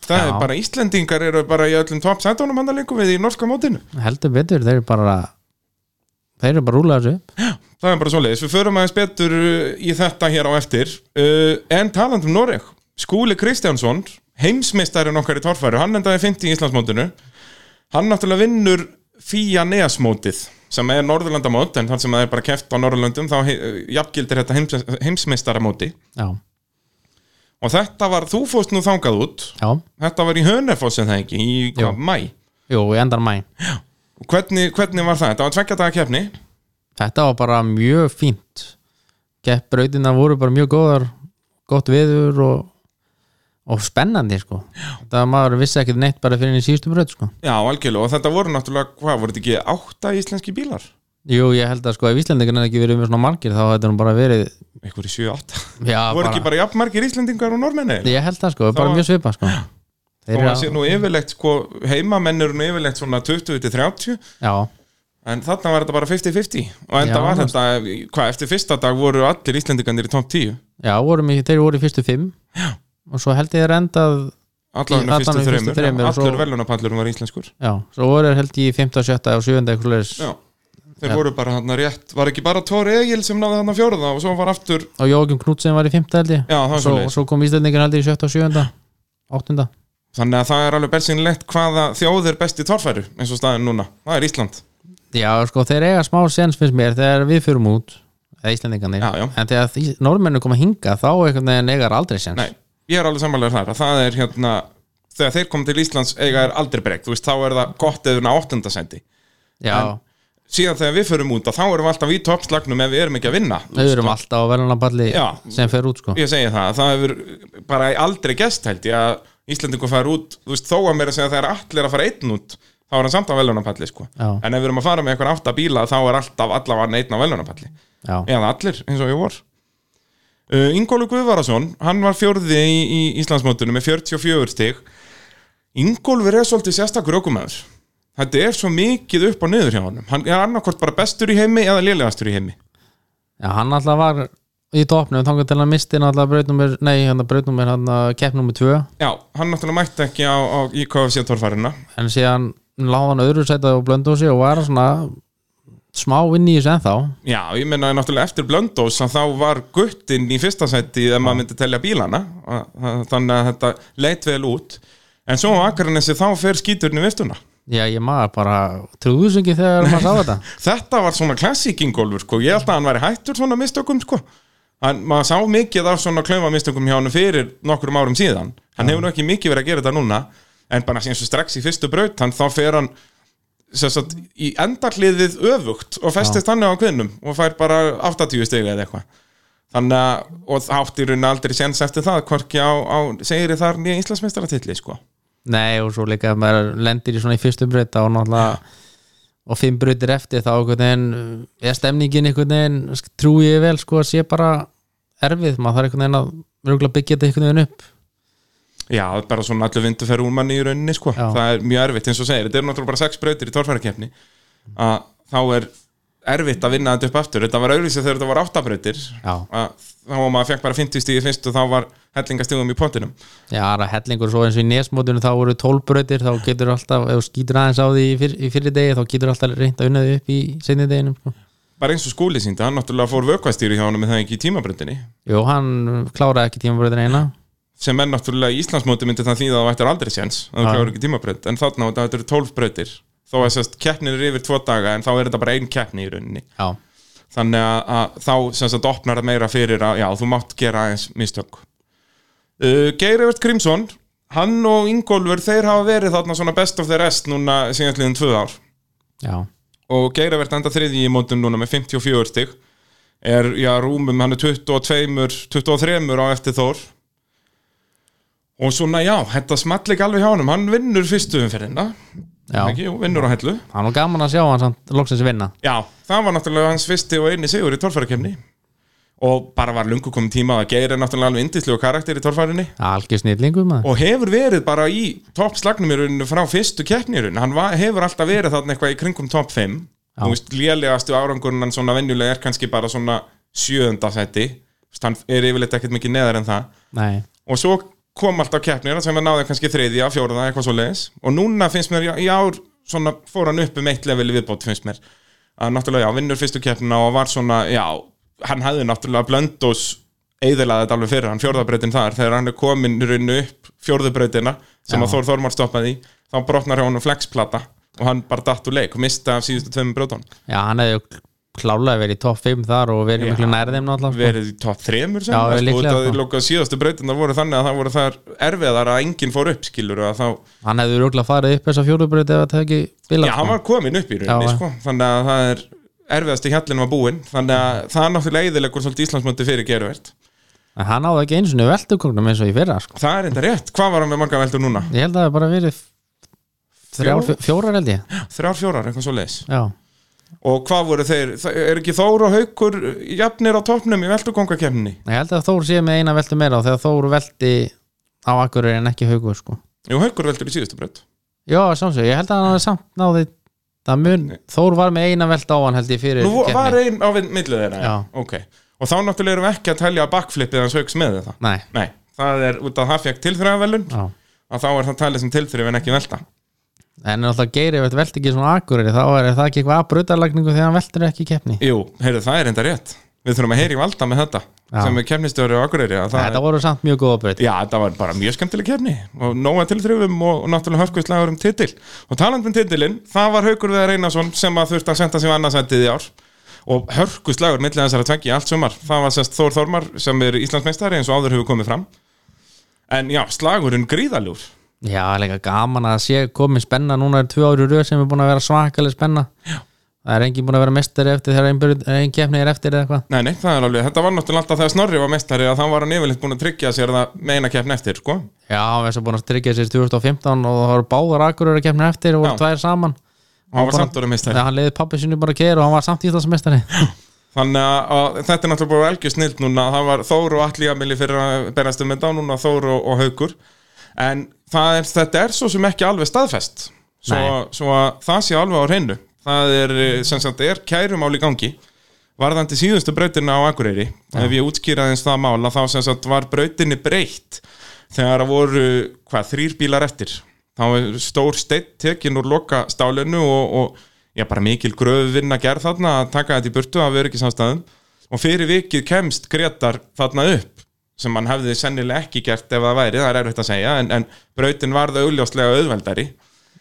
Það
Já.
er bara, Íslendingar eru bara í öllum top sætunum hann að við í norska mótinu.
heldur betur, þeir eru bara þeir eru bara að rúla þessu upp
Það er bara svoleiðis, við förum aðeins betur uh, í þetta hér á eftir uh, En taland um Noreg, Skúli Kristjánsson, heimsmeistarinn okkar í torfæru Hann endaði 50 í Íslandsmótinu Hann náttúrulega vinnur Fía Neasmótið Sem er Norðurlandamót, en þar sem það er bara keft á Norðurlöndum Þá uh, jafngildir þetta heims, heimsmeistaramóti
já,
Og þetta var, þú fórst nú þangað út
já,
Þetta var í Hönefossin það ekki, í
Jú.
hvað, mæ
jú, í endar mæn
Og Hvernig, hvernig var það? Þetta var tveggja daga keppni
þetta var bara mjög fínt geppbrautina voru bara mjög góðar gott viður og, og spennandi sko það maður vissi ekkert neitt bara fyrir enn í síðustu braut sko.
Já, algjörlega, og þetta voru náttúrulega, hvað, voru þetta ekki átta íslenski bílar?
jú ég held að sko ef Íslandingarnir ekki verið með svona margir þá þetta nú bara verið
einhverju 7-8
já,
voru ekki
bara,
bara jafn margir Íslendingar og normenni
ég held að sko, bara
var-
mjög svipa sko.
og
þeir
það
eru
sé nú yfirlegt sko, heimamenn eru nú yfirlegt svona 20-30
já,
en þarna var þetta bara 50-50 og enda
Já,
var
þú
þetta, hvað, eftir fyrsta dag voru allir Íslendingarnir í top 10
já vorum, í- þeir voru í fyrstu fimm og svo held ég þeir endað
allar
Í-
hennar fyrstu
allan í fyrstu
þreymur,
þremur og svo-
allir velunapallurum var íslenskur
já, svo voru þeir held ég í 15, 17 og 7 eitthvað leis
já, þeir voru bara hann rétt var ekki bara Tóri Egil sem náði hann fjóraða og svo var aftur,
og Jókjum Knútsen var í 15 held ég
já það var
svo,
svo
svo kom Íslandingar held ég í 17 og 7 8
þannig að það er alveg belsinlegt hvaða þjóð er best í torfæru eins og staðin núna, það er Ísland
Já, sko, þeir eiga smá sens finnst mér þegar við fyrum út eða Íslandingarnir,
Já, já.
en þegar því- norðmennu koma hinga þá einhvern veginn eigar aldrei sens
Nei, ég er alveg samanlegur þar að það er hérna þegar þeir koma til Íslands eiga er aldrei breykt þú veist, þá er það gott eða áttundasendi
Já,
síðan þegar við förum út að þá erum við alltaf í toppslagnum ef við erum ekki að vinna Þú
við
veist,
erum alltaf um á verðanapalli
Já.
sem fer út, sko
ég segi það, það hefur bara aldrei gest held ég að Íslendingur fara út þú veist, þó að mér að segja að það er allir að fara einn út þá er hann samt á velunapalli sko.
Já.
en ef við erum að fara með eitthvað átta bíla þá er alltaf allavega einn á velunapalli
Já,
eða allir eins og ég vor uh, Ingólu Guðvarason hann var fjórði í, í Íslandsmótinu með 44 stig Ingólfur er svolítið sérstakur ökumæður þetta er svo mikið upp og niður hjá honum hann er annarkvort bara bestur í heimi eða lélegastur í heimi
já hann alltaf var í topnum, þangar til að misti alltaf brautnumir, nei, hann brautnumir hann keppnumir 2,
já, hann náttúrulega mætti ekki á, á IKFC torfærina
en síðan láði hann öðru sætið og blöndu sig og var svona smá inn í þessu ennþá
já, ég meina náttúrulega eftir Blöndós að þá var guttinn í fyrsta seti ef maður myndi telja bílana þannig að þetta leit vel út en svo á Akranessi þá fer skíturinn í viftuna
Já, ég maður bara trúðus ekki þegar maður sá þetta
þetta var svona klassíkingólfur sko. ég held að hann væri hættur svona mistökum sko. hann, maður sá mikið af svona klaufa mistökum hjá hann fyrir nokkrum árum síðan hann hefur nú ekki mikið verið að gera þetta núna en bara eins og strax í fyrstu braut hann, þá fer hann sem sagt, í endarliðið öfugt og festist hann á kvinnum og fær bara 80 stiga eða eitthvað þannig að, og það átti í raun aldrei séns eftir það, hvorki á, á segir þar nýja Íslandsmeistaratilli sko.
Nei og svo líka að maður lendir í svona í fyrstu breyta og náttúrulega og fimm brautir eftir þá einhvern veginn, uh, er stemningin einhvern veginn sk- trúi ég vel sko að sé bara erfið, maður þarf einhvern veginn að röglega byggja þetta einhvern veginn upp
Já, það er bara svona allir vindu fer úr manni í rauninni sko.
Já.
það er mjög erfitt eins og segir, þetta eru náttúrulega bara sex brautir í torfærakefni að þá er erfitt að vinna þetta upp aftur þetta var auðvitað þegar þetta var átta brautir
Já,
að þá var maður fekk bara 50 stíði fyrst og þá var hellingastíðum í pottinum
já, það er hellingur svo eins og í nesmótinu þá voru tólbrautir, þá getur alltaf ef þú skýtur aðeins á því í, fyr, í fyrir degi þá getur alltaf reynd að unna því upp í seinni deginum sko.
bara eins og skóli síndi, hann náttúrulega fór vökkvastýri hjá hann með það ekki í tímabröndinni
Jú, hann kláraði ekki tímabrautin eina
sem er náttúrulega í Íslandsmóti myndi það þýða að það vættir aldrei séns að
Já.
það kláður ekki tímabrönd, en þarna var þetta- þetta eru 12 bröndir þó að sérst keppnin er yfir tvo daga en þá er þetta bara ein keppni í rauninni
Já,
þannig að, að þá sem sagt opnar það meira fyrir að já, þú mátt gera aðeins mistök uh, Geir Evert Grímsson hann og Ingólfur, þeir hafa verið þarna svona best of the rest núna síðan liðin tvö ár
já,
og Geir Evert enda þriði í mótum núna með 54 stig er, já, rúmum, hann er 22 23 á eftir Þór og svona, já, þetta small ekki alveg hjá honum, hann vinnur fyrstu umferðina,
já
ekki, jú, vinnur á hellu
Hann var gaman að sjá hann samt loksins vinna
Já, það var náttúrulega hans fyrsti og eini sigur í torfærakefni og bara var lungu komin tíma að Geir er náttúrulega alveg indislegu karakter í torfærinni
Algjör snillingu maður
og hefur verið bara í toppslagnum í rauninu frá fyrstu keppni í rauninu hann var, hefur alltaf verið þarna eitthvað í kringum topp 5
Já.
þú veist, lélegastu árangurinn hann svona venjulega er kannski bara svona sjöunda seti, Þú veist, hann er yfirleitt ekkert mikið neðar en það
Nei,
og svo kom alltaf keppnir sem við náðum kannski þriðja, fjórða, eitthvað svo leiðis og núna finnst mér, í ár svona, fór hann upp um eitt level í viðbót finnst mér að náttúrulega, já, vinnur fyrstu keppnina og var svona, já, hann hafði náttúrulega blöndos eðilaði þetta alveg fyrir hann fjórðabreytin þar, þegar hann er komin raun upp fjórðabreytina sem
Já.
að Þór Þormar stoppaði í, þá brotnar hjá honum flexplata og hann bara datt úr leik og mista af síðustu tveimur brjóton
já, hann hefði kl- klálega verið í topp 5 þar og verið
Já.
miklu nærðum náttúrulega sko.
verið í topp þremur sem
Já,
það, sko,
líklega,
út af
sko.
loka síðastu breytinar voru þannig að það voru þar erfiðar að enginn fór upp skilur og að þá
Hann hefði rúglega farið upp þessa fjórubröð ef það ekki sko. bila
Já, hann var komin upp í rauninni,
Já,
sko Þannig að það er erfiðasti hjallin var búinn Þannig að það er náttúrulega eðilegur svolítið Íslandsmöndi fyrir geruvert
En hann áði ekki eins og niður veldukongnum eins og í fyrra sko.
Það er enda rétt, hvað var hann með marga veldur núna?
Ég held að það hafi bara verið f- þrjár,
Fjórar?
fjó- fjórar held ég
Þrjár, fjórar, eitthvað svo leis
Já,
Og hvað voru þeir, það er ekki Þór og Haukur jafnir á toppnum í veldugongakefninni?
ég held að Þór sé með eina veldu meira og þegar Þór veldi á Akureyri en ekki haugur sko.
Jú, Haukur veldur í síðustu breytt
Já, samsög, ég held að hann hafi samt náði það mun, Þór var með eina veldu á hann held ég fyrir
Nú vo- var
keppni.
einn á við- milli þeirra,
Já.
ok Og þá náttúrulega erum við ekki að telja backflipið hans Hauks með það
Nei,
Nei, það er út að það fekk tilþrjávelun
já
að þá er það talið sem tilþrjöf en ekki velta
En náttúrulega Geir ef þetta veldi ekki svona akureyri þá er það ekki eitthvað að brutalagningu þegar hann veldur ekki í keppni
Jú, heyrðu, það er enda rétt Við þurfum að heyri valda með þetta
Já.
sem er kemnistöru á Akureyri að það
Þetta voru samt mjög góða breyt
Já, þetta var bara mjög skemmtileg kefni og nóga tilþrifum og, og náttúrulega hörkuðslagur um titil og taland um titilinn, það var Haukur Viðar Einarsson sem að þurfti að senda sig annarsættið í ár og hörkuðslagur millir þessara tveggja í allt sumar, það var sérst Þór Þormar sem er Íslandsmeistari eins og áður hefur komið fram en já, slagurinn gríðaljúr
Já, líka gaman að sé komið spenna núna er tvö ári röð sem er búin að vera svakaleg spenna Já. Það er engin búin að vera mestari eftir þegar ein, braut- ein keppni er eftir eða eitthvað
Nei, nei, það er alveg, þetta var náttúrulega alltaf þegar Snorri var meistari að þá var hann yfirleitt búin að tryggja sér það meina keppn eftir, sko
Já, hann var svo búin að tryggja sér 2015 og það voru báðar akureyri keppni eftir og voru
Já.
tvær saman
og hann var samt orðið meistari
Þegar hann leiði pappi sinni bara að gera og hann var samt íslandsmestari
Þannig að, að þetta er náttúrulega bara algjör snild núna það var Þór og Atli Jamili fyrir að berast um þetta og núna Þór og, og Haukur en það er, þetta er svo sem ekki alveg staðfest svo,
Nei.
svo að það sé alveg á hreinu það er eh, sem sagt er kærumál í gangi varðandi síðustu brautina á Akureyri ef ég útskýraði eins það mála þá sem sagt var brautinni breytt þegar það voru hvað þrýr bílar eftir þá er stór steitt tekin úr loka stálinu og, og já, bara mikil gröfvinna gerð þarna að taka þetta í burtu af öryggisamstæðum og fyrir vikið kemst Gretar þarna upp sem hann hefði sennilega ekki gert ef það væri, það er erfitt að segja en, en brautin varð augljóslega auðveldari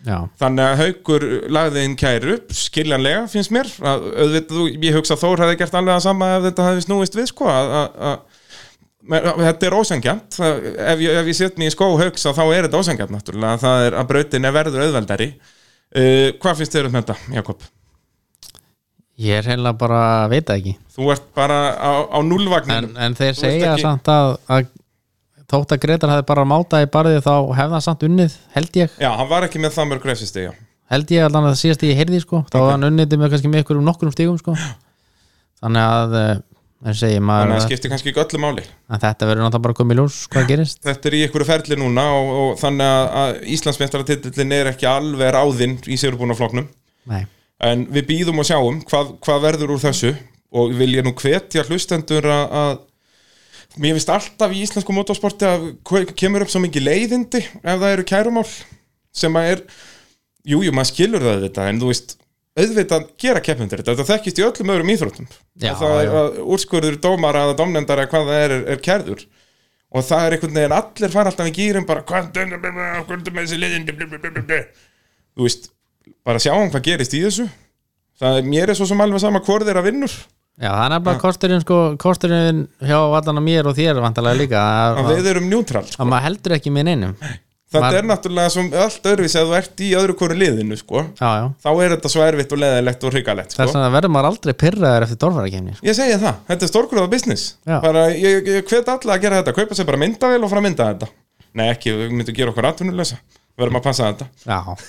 Já,
Þannig að Haukur lagði inn kæru skiljanlega finnst mér að, auðvitað, þú- ég hugsa að Þór hefði gert alveg að sama ef þetta hefði snúist við sko að, að, að, Men, að- þetta er ósengjant ef ég, ef ég set mér í skó Hauks að þá er þetta ósengjant náttúrulega það er að brautin er verður auðveldari uh, Hvað finnst þér um þetta, Jakob?
ég er heila bara veit það ekki
Þú ert bara á, á
en,
núlvagninum
en
Þú
þeir
veist
segja
ekki-
samt að, að þótt að Gretar hefði bara mátað í barðið þá hefði hann samt unnið, held ég
Já, hann var ekki með það mörg reysistegi
held ég allan að það síðast ég heyrði sko, þá var hann unniti með kannski með ykkur um nokkrum stígum sko þannig að, það segir
þannig
maður
að
að,
það skiptir kannski ekki öllu máli
að þetta verður náttúrulega bara að koma í ljós hvað gerist,
þetta er í einhverju ferli núna og, og þannig að, að Íslandsmeistaratitillin er ekki alveg ráðinn í sigurbúnafloknum
nei,
en við býðum og sjáum hvað, hvað verður úr þessu og vil ég nú hvetja hlustendur að, að mér finnst alltaf í íslensku motorsporti að kve- kemur upp svo mikið leiðindi ef það eru kærumál sem að er, jújú, jú, maður skilur það þetta en þú veist, auðvitað gera keppnundir þetta, þetta þekkist í öllum öðrum íþróttum
Já,
að það er
já.
að úrskurður dómar að domnendar að hvað það er, er, er kærður og það er einhvern veginn allir fara alltaf í gýrum bara hvað er þetta með þessi liðin þú veist, bara sjáum hvað gerist í þessu það er mér er svo sem alveg sama hvort þeirra vinnur
já það er nefnilega kosturinn sko, kosturinn hjá allan að mér og þér vantarlega líka, að,
að
að,
við erum njútrál sko.
að maður heldur ekki með neinum já,
þetta
maður-
er náttúrulega sem allt öðruvísi að þú ert í öðru hverju liðinu sko.
já,
þá er þetta svo erfitt og leðilegt og hrikalegt
þess
sko.
vegna verður maður aldrei pyrraður eftir dorfarakefni sko.
ég segja það, þetta er stórgróða business
Já.
bara, ég, ég hvet alla að gera þetta kaupa sér bara myndavél og fara að mynda þetta nei ekki, við myndum gera okkur atvinnulösa við verðum að passa þetta
já,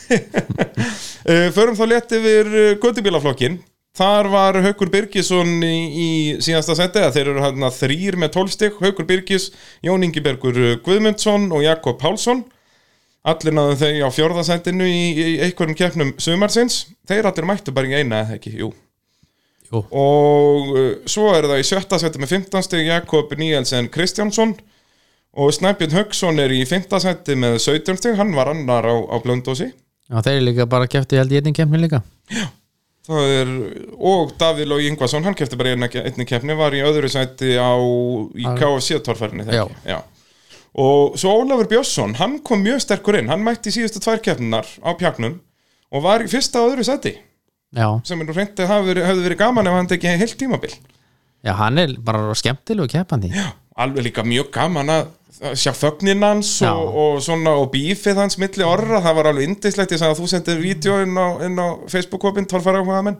uh, förum þá létt yfir göttubílaflokkin Þar var Haukur Birgisson í, í síðasta seti að þeir eru hann þrýr með tólstig, Haukur Birgis, Jón Ingibergur Guðmundsson og Jakob Pálsson. Allir náðu þeir á fjórðasendinu í, í einhverjum keppnum sumarsins. Þeir allir mættu bara í eina, eða ekki, jú.
Jú.
Og uh, svo er það í sjötta seti með 15 stig Jakob Níelsen Kristjánsson og Snæbjörn Hauksson er í 15 seti með 17 stig, hann var annar á, á blöndósi.
já, þeir eru líka bara kefti held í einnig kemni líka
Það er, og Davíð Lói Yngvason, hann kefti bara í einni, einni keppni, var í öðru sæti á, í
Al-
KFC-torfærinni þegar. Já. Já. Og svo Ólafur Björnsson, hann kom mjög sterkur inn, hann mætti í síðustu tvær keppninar á pjaknum og var í fyrsta og öðru sæti,
já,
sem er nú reyndi að hafa verið- hefði verið gaman ef hann tekið heilt tímabil.
já, hann er bara skemmtilegu keppandi já,
Alveg líka mjög gaman að að sjá fögnin hans
Já.
og, og svona og bífið hans milli orra, það var alveg indislegt, ég sagði að þú sendir vídeo inn á, inn á Facebook-kopin, torfæra áhuga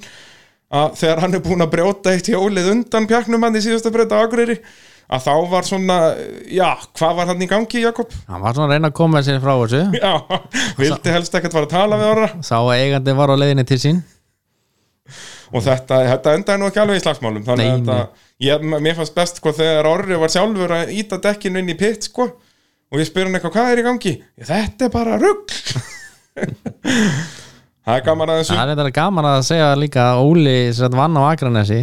að þegar hann er búin að brjóta eitt hjólið undan pjaknum hann í síðasta breyta Akureyri að þá var svona, já, hvað var hann í gangi Jakob? (laughs)
hann var svona að reyna að koma sér frá þessu
Já, vildi helst ekkert fara að tala við orra
sá að eigandi var á leiðinni til sín
og þetta, þetta endaði nú ekki alveg í slagsmálum þannig
Nei,
að þetta, ég, mér fannst best sko þegar orri var sjálfur að íta dekkinu inn í pitt sko og ég spyr hann eitthvað, hvað er í gangi? Ég, Þetta er bara rugg (laughs) Það er gaman aðeins um-
það er þetta gaman að segja líka að Óli sem vann á Akranesi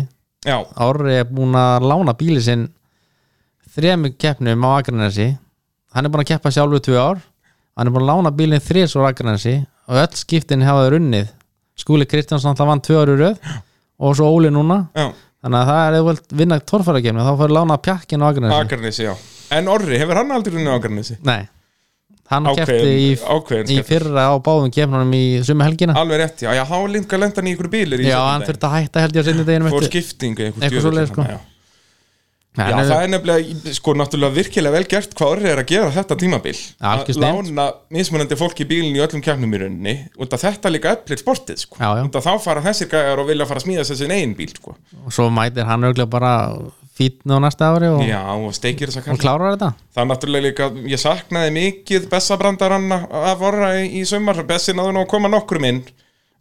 Já,
Ári er búin að lána bíli sinn þremur keppnum á Akranesi hann er búin að keppa sjálfu tvö ár hann er búin að lána bílinn þrés úr Akranesi og öll skiptin hafa þeir unnið Skúli Kristjánsson alltaf vann tvö ári röð og svo Óli núna
já,
þannig að það er eða vilt vinna torfærakefni þá fyrir lána pjakkin á Akranesi
Akarnesi, já En Orri, hefur hann aldrei unni Akarnesi?
nei, hann keppti í,
Ákveðin, ákveðin
í
skemmtun.
fyrra á báðum keppnunum í sumu helgina
Alveg rétt, já, já, þá linga lenda hann í ykkur bílir í
já,
seinni
hann
daginn.
þurfti að hætta held ég á sinni deginum
Fór
eftir
skipting
Eitthvað
djöfull
svoleiðis, sko.
þarna, já.
Já,
Já,
hann er-
það er nefnilega, sko, náttúrulega virkilega vel gert hvað orðið er að gera þetta tímabil
Algjör
Að
snilld.
lána mismunandi fólk í bílinn í öllum kjafnum í rauninni og þetta líka eflir sportið, sko
Já, já.
Og þá fara þessir gæjar og vilja fara að smíða sér sin eigin bíl, sko
og svo mætir hann örglega bara fítn á næsta ári og,
Já, og steikir þess að
og klárar þetta
Það er náttúrulega líka, ég saknaði mikið Bessabrandaranna að vorra í, í sumar Bessi náðu nú að koma nokkrum inn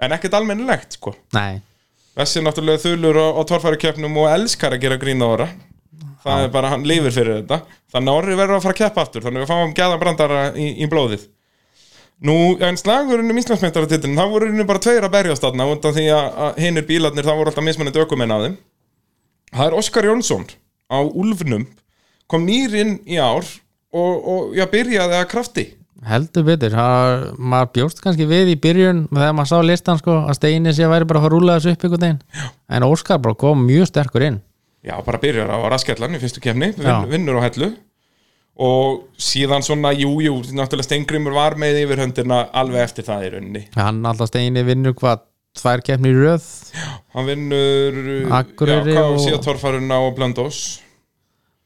en ekkert almennilegt, sko
nei,
Bessi er náttúrulega þulur á, á torfærukeppnum og elskar að gera grína orra það er bara, hann lifir fyrir þetta þannig að orri verður að fara að keppa aftur þannig að við fáum gæðan brandara í, í blóðið nú, en slagurinn um Íslandsmeistaratitinn það voru nú bara tveir að berjast þarna undan því að, að hinnir bílarnir það voru alltaf mismunandi ökumenn að þeim það er Óskar Jónsson á Ulfnum kom nýrinn í ár og, og já, byrjaði að krafti
heldur betur það, maður bjóst kannski við í byrjun þegar maður sá listan sko að steini sé að væri bara að fara að rúla þessu upp ykkur deginn en Óskar bara kom mjög sterkur inn
já, bara byrjar á raskellan í fyrstu kefni,
Já.
vin, vinnur á hellu og síðan svona, jú, jú, náttúrulega Steingrimur var með yfir höndina alveg eftir það í rauninni.
hann alltaf steini vinnur hvað tvær keppni í röð
Hann vinnur,
Akureyri
já,
og-
KFC og... torfaruna og Blöndós.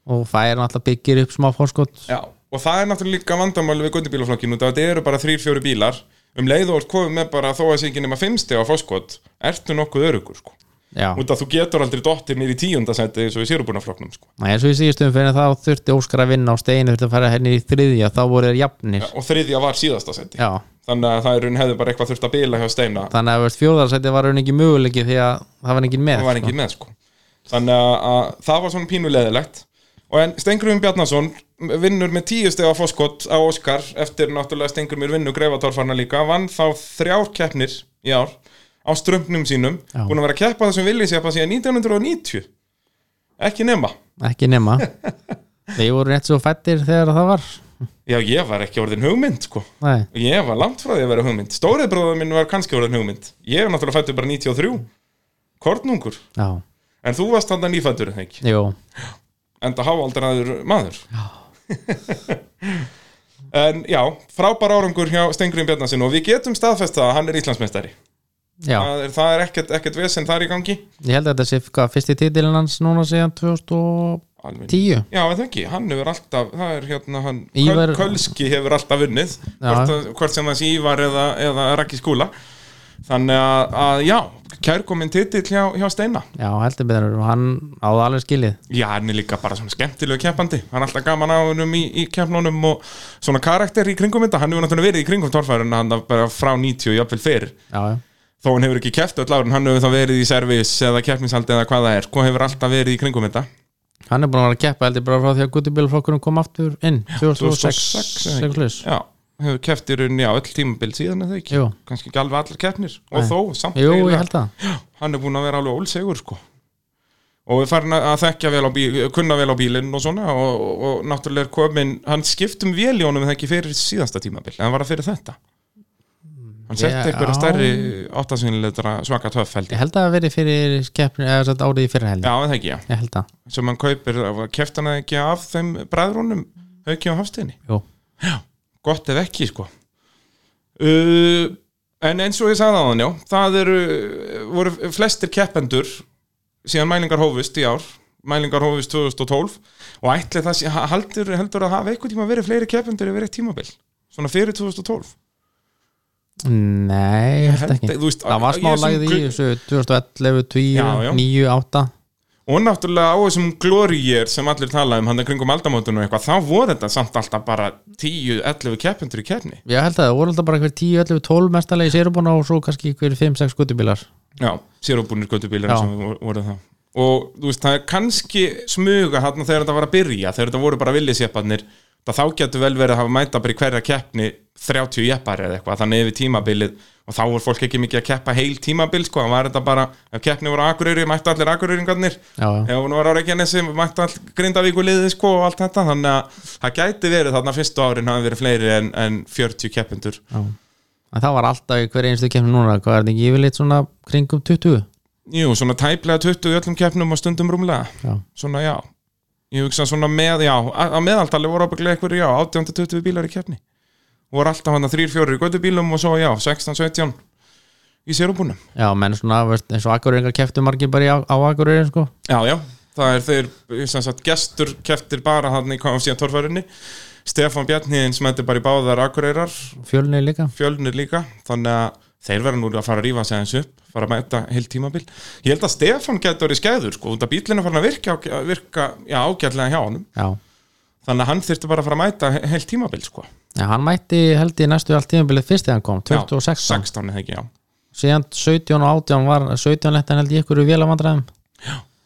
og fær hann alltaf byggir upp smá fórskot
Já, og það er náttúrulega líka vandamáli við göttubílaflokkinu, þetta eru bara þrír, fjóri bílar, um leið og komið með bara þó að sé ekki nema fimmsti á fóskot, ertu nokkuð örugur, sko.
já,
Út að þú getur aldrei dottir nýri tíundasæti eins og í sérubunaflokknum, sko.
Nei, eins og í síðustum fyrir þá þurfti Óskar að vinna og steini þurfti að fara henni í þriðja þá voru þeir jafnir
Og þriðja var síðasta sæti.
já,
þannig að það er raun hefði bara eitthvað þurft að bila hjá Steina
þannig að veist, fjórðarsæti var raun ekki möguleiki því að það var engin með
það var
sko.
engin með sko þannig að, að það var svona pínulegðilegt og en Stengrum Bjarnason vinnur með tíu stefa fóskot á Óskar eftir náttúrulega Stengrumir vinnu greifatorfarna líka vann þá þrjár keppnir í ár á strömpnum sínum
Já.
búin að vera að keppa þessum villisjappa síðan 1990 ekki nema
ekki
(laughs)
nema þeir voru rétt svo fættir þegar það var
já ég var ekki orðin hugmynd sko
Nei,
ég var langt frá því að vera hugmynd stórið bróður minn var kannski orðin hugmynd ég er náttúrulega fættur bara 93 kornungur
já,
en þú varst þannig nýfættur ekki
jú,
enda háaldraður maður (laughs) en já, frábær árangur hjá Stengurinn Bjarnasin og við getum staðfesta að hann er Íslandsmeistari
já
það er, það er ekkert, ekkert vesen þar í gangi
ég held að þetta sé hvað, fyrsti titilin hans núna síðan 2010
Alveg. já, en það ekki, hann hefur alltaf það er hérna, hann,
Ívar-
Köl, Kölski hefur alltaf unnið hvort, að- hvort sem það sé Ívar eða, eða Raki Skúla þannig að, að já, kærkomin titill hjá, hjá Steina
já, heldur betur, og hann áða alveg skilið
Já, hann er líka bara svona skemmtilegu keppandi Hann er alltaf gaman á hennum í, í keppnunum og svona karakter í kringum þetta Hann hefur náttúrulega verið í kringum torfærun hann bara frá 90 og jafnvel fyrir
já, já,
Þó hann hefur ekki keppt öll árin, hann hefur þá verið í servis eða keppnishaldi eða hvað það er Sko hefur alltaf verið í kringum þetta
hann er búin að vera að keppa heldur bara frá því að guttibílflokkurinn kom aftur inn 2006,
2006, eða ekki?
2006
Já, hefur keppt í rauninni á öll tímabil síðan eða ekki
jú,
Kannski ekki alveg allar keppnir
Nei.
og þó, samt
jú, ég
eiginlega.
held það
Hann er búin að vera alveg ólsegur sko Og við farin að að þekkja vel á bíl, kunna vel á bílinn og svona og, og, og náttúrulega er komin, hann skiptum vel í honum en það ekki fyrir síðasta tímabil, en var það fyrir þetta Hann setti
Ég-
einhverja
já.
stærri áttasinnilegra svaka töff held ég.
ég held að það hafi verið fyrir keppni, eða satt árið í fyrra held
Já,
ég.
en það ekki, já,
ég held það,
sem hann kaupir keftan að ekki af þeim bræðrunum Hauki og Hafsteini
jú,
gott ef ekki sko uh, en eins og ég sagði á þann já það eru, voru flestir keppendur síðan mælingar hófust í ár mælingar hófust 2012 og ætli það sé, ha- heldur, heldur að hafa eitthvað tíma verið fleiri keppendur yfir eitt tímabil svona fyrir 2012
nei, ég held ekki
Held- þú veist,
það var
ég
smá
er svona
lagið í
gl-
þessu 2011, 10,
Já, já.
9, 8
og náttúrulega á þessum glóriér sem allir tala um hann kringum aldamótun og eitthvað þá voru þetta samt alltaf bara 10-11 keppendur í keppni
ég held að það voru alltaf bara hver 10, 11, 12 mestalegi sérubána og svo kannski hver 5, 6 guttibílar
Já, sérubúnir göttubílar
Já.
sem voru- voru það og þú veist, það er kannski smuga þarna þegar þetta var að byrja þegar þetta voru bara villisjepparnir það þá getur vel verið að hafa mæta bara í hverja keppni 30 jeppar eða eitthvað, þannig yfir tímabilið og þá voru fólk ekki mikið að keppa heil tímabil sko, það var þetta bara, ef keppni voru á akureyri mættu allir akureyringarnir
já, já,
ef hún var á Reykjanesi, mættu all grindavíkuliði sko og allt þetta, þannig að það gæti verið þarna fyrstu árin hafi verið fleiri en, en 40 keppendur
já. en það var alltaf í hver einstu kemur núna hvað er þetta ekki yfirleitt svona kringum 20
Jú, svona tæplega 20 í öllum keppnum og stundum rúmlega
já,
svona já ég hugsa svona með, já, að að meðaltali voru ábygglega einhverju, já, 18-20 bílar í keppni voru alltaf hann að 3-4 í göttubílum og svo já, 16-17 í sérumbúnum
já, menn svona veist, eins og akkuringar keftu margir bara í, á, á akkurin sko.
já, já, það er þeir sem sagt, gestur keftir bara hann í KFC torfærinni Stefán Bjarniðin sem endur bara í báðar akureyrar
fjölni líka
fjölnir líka, þannig að þeir verða nú að fara að rífa sig aðeins upp fara að mæta heil tímabil ég held að Stefán getur verið skæður sko, út að bílinn er farin að virka, virka já, ágætlega hjá honum
já.
þannig að hann þyrfti bara að fara að mæta he- heilt tímabil sko.
Já, hann mætti held í næstu allt tíðanbilið fyrst þegar hann kom, 2016
16 eða ekki, já
síðan 17 og 18 var 17 lett held í ykkur vélamandræðum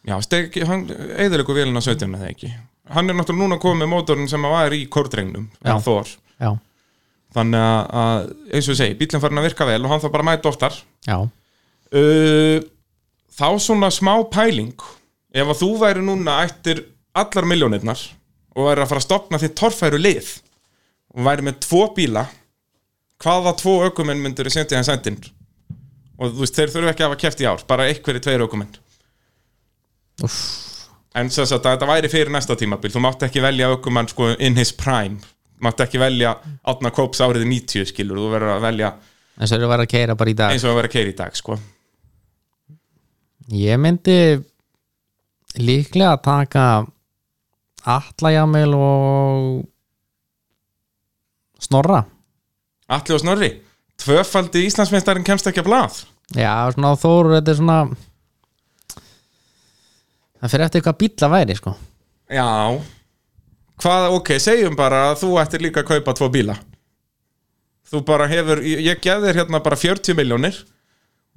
Já, steg, hann eður ykkur vélina 17 eða ekki Hann er náttúrulega núna komið með mótorinn sem að var í kordrengnum
Já.
Þor
já,
Þannig að, að, eins og ég segi, bílinn farin að virka vel og hann þarf bara að mæta oftar
já,
uh, Þá svona smá pæling Ef að þú væri núna ættir allar miljónirnar og væri að fara að stopna þitt torfæru lið og væri með tvo bíla hvaða tvo aukumenn myndur þið sendið hann sendin og þú veist, þeir þurfa ekki að hafa keft í ár bara einhverju tveir aukumenn En sem sagt að þetta væri fyrir næsta tímabil Þú mátt ekki velja aukumann sko in his prime Mátt ekki velja Átna Kóps áriði 90 skilur Þú verður að velja
eins og þeir verið að keira bara í dag
eins og að vera keiri í dag sko
Ég myndi líklega að taka Atla Jamil og Snorra
Atli og Snorri Tvöfaldi Íslandsmeistarinn kemst ekki að blað
Já, svona á Þór, þetta er svona Það fyrir eftir hvað bíla væri sko
Já Hvað, ok, segjum bara að þú ættir líka að kaupa tvo bíla þú bara hefur, ég, ég gef þér hérna bara 40 miljónir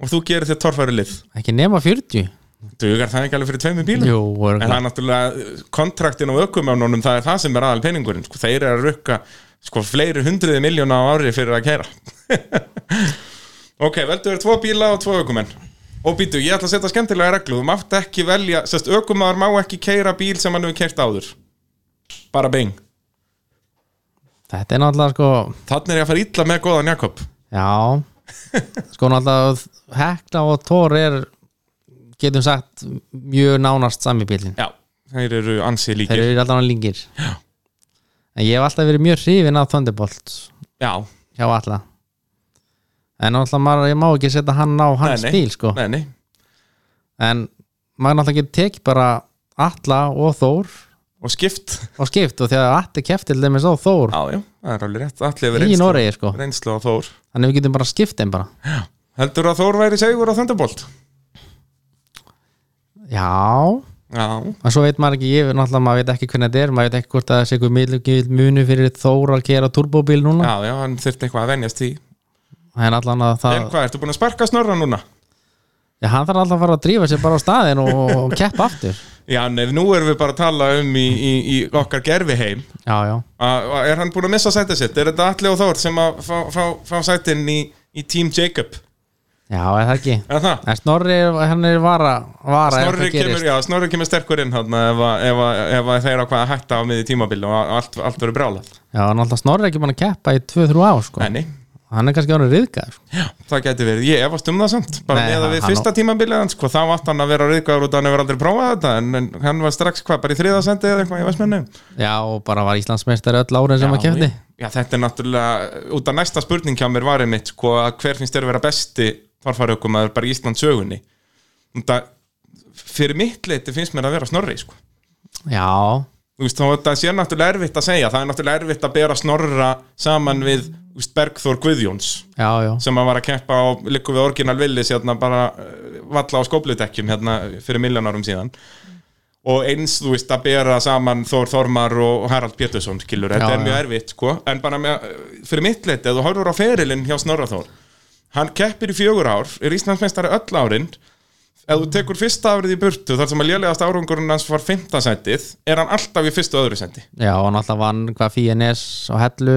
og þú gerir þér torfæri lið
ekki nema 40
dugar það ekki alveg fyrir tveimur bílum
Jú,
en það
örugglega.
er náttúrulega kontraktin á ökumjónunum það er það sem er aðal peningurinn sko, þeir eru að rukka sko fleiri hundruði miljóna á ári fyrir að kæra (laughs) ok, veldu er tvo bíla og tvo ökumenn og býtu, ég ætla að setja skemmtilega reglu þú mátt ekki velja, sérst ökumaður má ekki kæra bíl sem hann hefur kært áður bara bing
þetta er náttúrulega sko
þannig er ég að fara illa með góðan Jakob (laughs)
já, sko náttúrulega hekla og tór er getum sagt mjög nánast sami bílinn
já, þeir eru ansi
þeir
líkir
eru alltaf língir já. en ég hef alltaf verið mjög hrifin af Thunderbolt
já,
hjá alla en náttúrulega maður, ég má ekki setja hann á hans
Nei, nei.
bíl sko
neini,
en maður náttúrulega getur tekið bara alla og Þór
og skipt
og skipt og þegar allir kefti til þeim eins og Þór
já, já, það er alveg rétt, allir
í Noregi sko
reynslu á Þór
þannig við getum bara skipt þeim bara
heldur að Þór væri segur á Thunderbolt
já,
já,
en svo veit maður ekki ég náttúrulega maður veit ekki hvernig þetta er maður veit ekki hvort að það sé eitthvað mikil munu fyrir Þór að gera turbóbíl núna
já, já, hann þurfti eitthvað að venjast í
en allan að það
en hvað, ertu búin að sparka snorra núna?
já, hann þarf alltaf að fara að drífa sér bara á staðin og, og keppa aftur
já, nef, nú erum við bara að tala um í, í, í okkar gerfi heim
já, já,
er hann búin að missa sætið sitt? er þetta allir á Þór sem að fá, fá, fá sætin í, í Team Jacob?
já, er það ekki
er það?
en Snorri, hann er vara, vara ef
Snorri
það gerist.
kemur, já, snorri kemur sterkur inn hann, ef, að- ef, að- ef að þeir ákvaða að hætta á miði tímabil og allt, allt verður brálað
Já, en alltaf Snorri er ekki búin að keppa í 2-3 ár sko.
Nei, nei,
Hann er kannski ánur riðgað sko.
já, það gæti verið, ég efast um það samt bara
Nei,
með að við
hann-
fyrsta tímabilið hans, hvað þá átt hann að vera rauðgæður út að hann hefur aldrei prófað þetta en, en hann var strax hvað, bara í þriðasendi eða eitthvað, ég veist menni
Já, og bara var Íslandsmeistari öll árin sem hann kefti
Já, þetta er náttúrulega, út af næsta spurning hjá mér var einmitt, sko, að hver finnst þér að vera besti farfaraukum að bara í Ísland sögunni það, fyrir mitt leiti finnst mér að vera snorri, sko
Já,
þú veist, þá það sé náttúrulega erfitt að segja það er náttúrulega erfitt að bera snorra saman við þú veist, Bergþór Guðjóns
já, já
sem að var að keppa á líku við orginal villis hérna bara eh, valla á skópludekkjum hérna fyrir milljón árum síðan og eins, þú veist, að bera saman Þór Þormar og Harald Pétursson skilur, þetta
Já,
er
já.
mjög erfitt, sko en bara með, fyrir mitt leiti, ef þú horfur á ferilinn hjá Snorra Þór hann keppir í fjögur ár, er Íslandsmeistari öll árin ef þú tekur fyrsta árið í burtu þar sem að lélegast árangurinn hans var fymta sendið, er hann alltaf í fyrstu og öðru sendi
Já, og náttúrulega vann hvað FINS og Hellu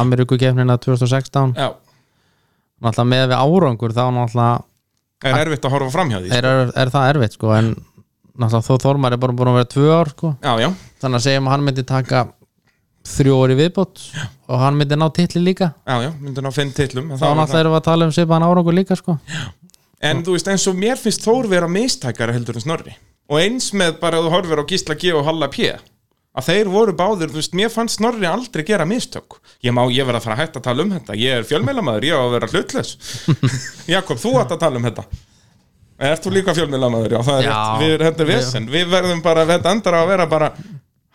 Ameríkukefnina 2016
Já,
Náttúrulega með við árangur þá náttúrulega
er erfitt að horfa framhjá því sko.
er, er, er það erfitt sko en náttúrulega þó Þormar er bara búin að vera 2 ár sko
Já, já,
Þannig að segjum að hann myndi taka 3 í viðbót og hann myndi ná titli líka
já, já, myndi ná fimm titlum en
Þá
það var það.
náttúrulega erum við að tala um svipaðan árangur líka sko
En þú veist, eins og mér finnst Þór vera mistækara heldur en Snorri Og eins með bara að þú horfir á Gísla G og Halla P Að þeir voru báðir, þú veist, mér fannst Snorri aldrei gera mistök Ég má, ég verð að fara að hætta að tala um þetta Ég er fjölmeilamæður, ég á að vera
(laughs)
hlutlaus Jakob, þú átt að tala um þetta Ert þú líka fjölmeilamæður, já, það er
Já.
rétt Við, þetta er vesen, við verðum bara, þetta endar á að vera bara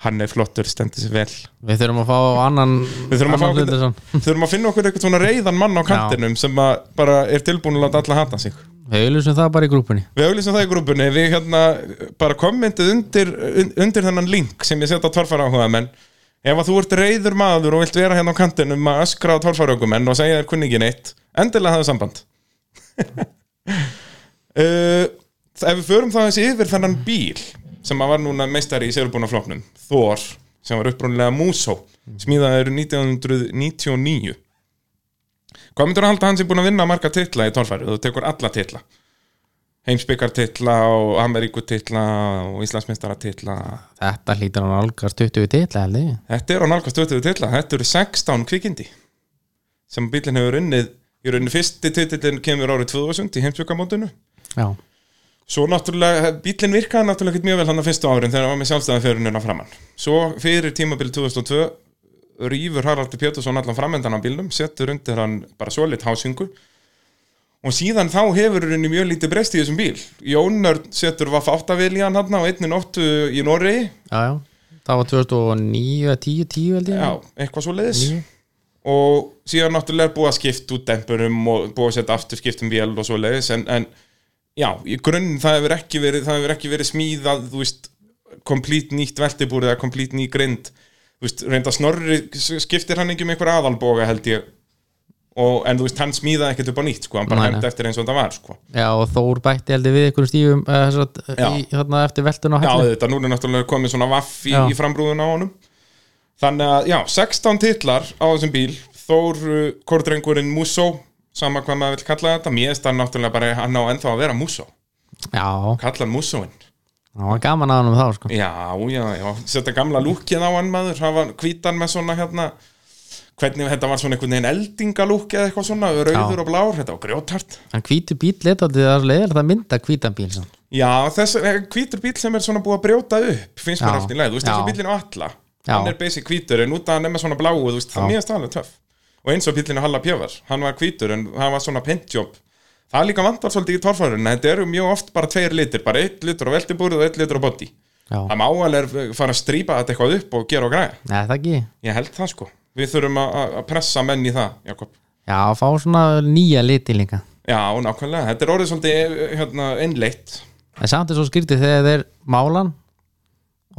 Hann er flottur, stendur sér vel
Við þurfum að fá annan
Við þurfum að,
annan
fá
Hlutlason.
okkur, þurfum að finna okkur eitthvað svona reyðan mann á kantinum Sem að bara er tilbúin að láta alla hata sig
Við auðlýsum það bara í grúpunni
Við auðlýsum það í grúpunni, við hérna bara kommentið undir, un- undir þennan link sem ég setja á torfara áhuga menn ef að þú ert reyður maður og vilt vera hérna á kantinum að öskra á torfara og segja þér kunni ekki neitt, endilega hafðu samband (laughs) uh, Ef við förum þá eins yfir þennan bíl sem að var núna meistari í sérbúnafloknum Þór, sem var upprunnilega Músó smíðaður 1999 Hvað myndur að halda hann sem búin að vinna marga titla í torfæru? Þú tekur alla titla heimsbyggartitla og Ameríkutitla og Íslandsmeistaratitla
Þetta hlýtur hann algar 20 titla held ég
Þetta er á nálgast 20 titla, þetta eru 16 kvikindi sem bílinn hefur unnið í rauninni fyrsti titillin kemur árið 2000 í heimsbyggarmótinu
Já,
Svo náttúrulega, bílinn virkaði náttúrulega ekkert mjög vel hann að fyrstu árin þegar hann var með sjálfstæðanförunina framann Svo fyrir tímabil 2002 rýfur Haraldur Pétursson allan framendan á bílnum, setur undir hann bara svolit hásingu og síðan þá hefur henni mjög lítið breyst í þessum bíl Jónar setur vaff áttavél í hann hann á 1.8 í Noregi
já, já Það var 2009, 10, 10 held ég Mhm.
Já, eitthvað svo leiðis
Níu.
Og síðan náttúrulega er búið að skipta út dempurum og búið að setja aftur skiptum vél og svo leiðis en, en já, í grunn það hefur ekki verið, það hefur ekki verið smíðað, þú veist komplít nýtt veltibúr eða komplít ný grind þú veist, reynda snorri skiptir hann ekki um einhver aðalboga held ég og, en þú veist, hann smíðaði ekkert upp á nýtt sko, hann bara
Nei, nei.
hendi eftir eins og það var sko.
Já, og Þór bætti heldur við ykkur stífum uh, satt,
Já.
í, þarna eftir veltun á
Já,
hellu
þetta nú er náttúrulega komið svona vaff í,
Já.
í frambrúðun á honum Þannig að, já, 16 titlar á þessum bíl Þór uh, Kordrengurinn Musso Sama hvað maður vill kalla þetta Mér er náttúrulega bara, hann á ennþá að vera Musso
Já,
Kalla hann Mussoinn
það var gaman að hann um þá sko.
Já, já, já, setja gamla lúkið á hann maður Hafa hvítan með svona hérna Hvernig þetta var svona einhvern veginn eldingalúk Eða eitthvað svona, rauður og blár Þetta var grjótart
Hann hvítu bíl letandi það er leiðilegt að mynda hvítan bíl sko. samt.
Já, þessi eh, hvítur bíl sem er svona búið að brjóta upp finnst mér
Já.
allt í leið, þú veist
Já.
þessi bílinn á alla
Já.
hann er basic hvítur en út að hann er með svona bláu þú veist, það
Já.
mér er alveg töff og eins og bílinn á Halla Pjövar, hann var hvítur en hann var svona pentjob það er líka vandar svolítið í torfærun, þetta eru mjög oft bara tveir litir, bara eitt litur á veltibúrið og eitt litur á body,
Já,
það má alveg fara að strípa þetta eitthvað upp og gera og græja
Nei, það ekki
ég held það sko, við þurfum að- að að pressa menn í það, Jakob
Já, fá svona nýja liti líka
Já, nákvæmlega, þetta er orðið svolítið eh, hérna, innleitt
En samt er svo skrítið þegar þeir málan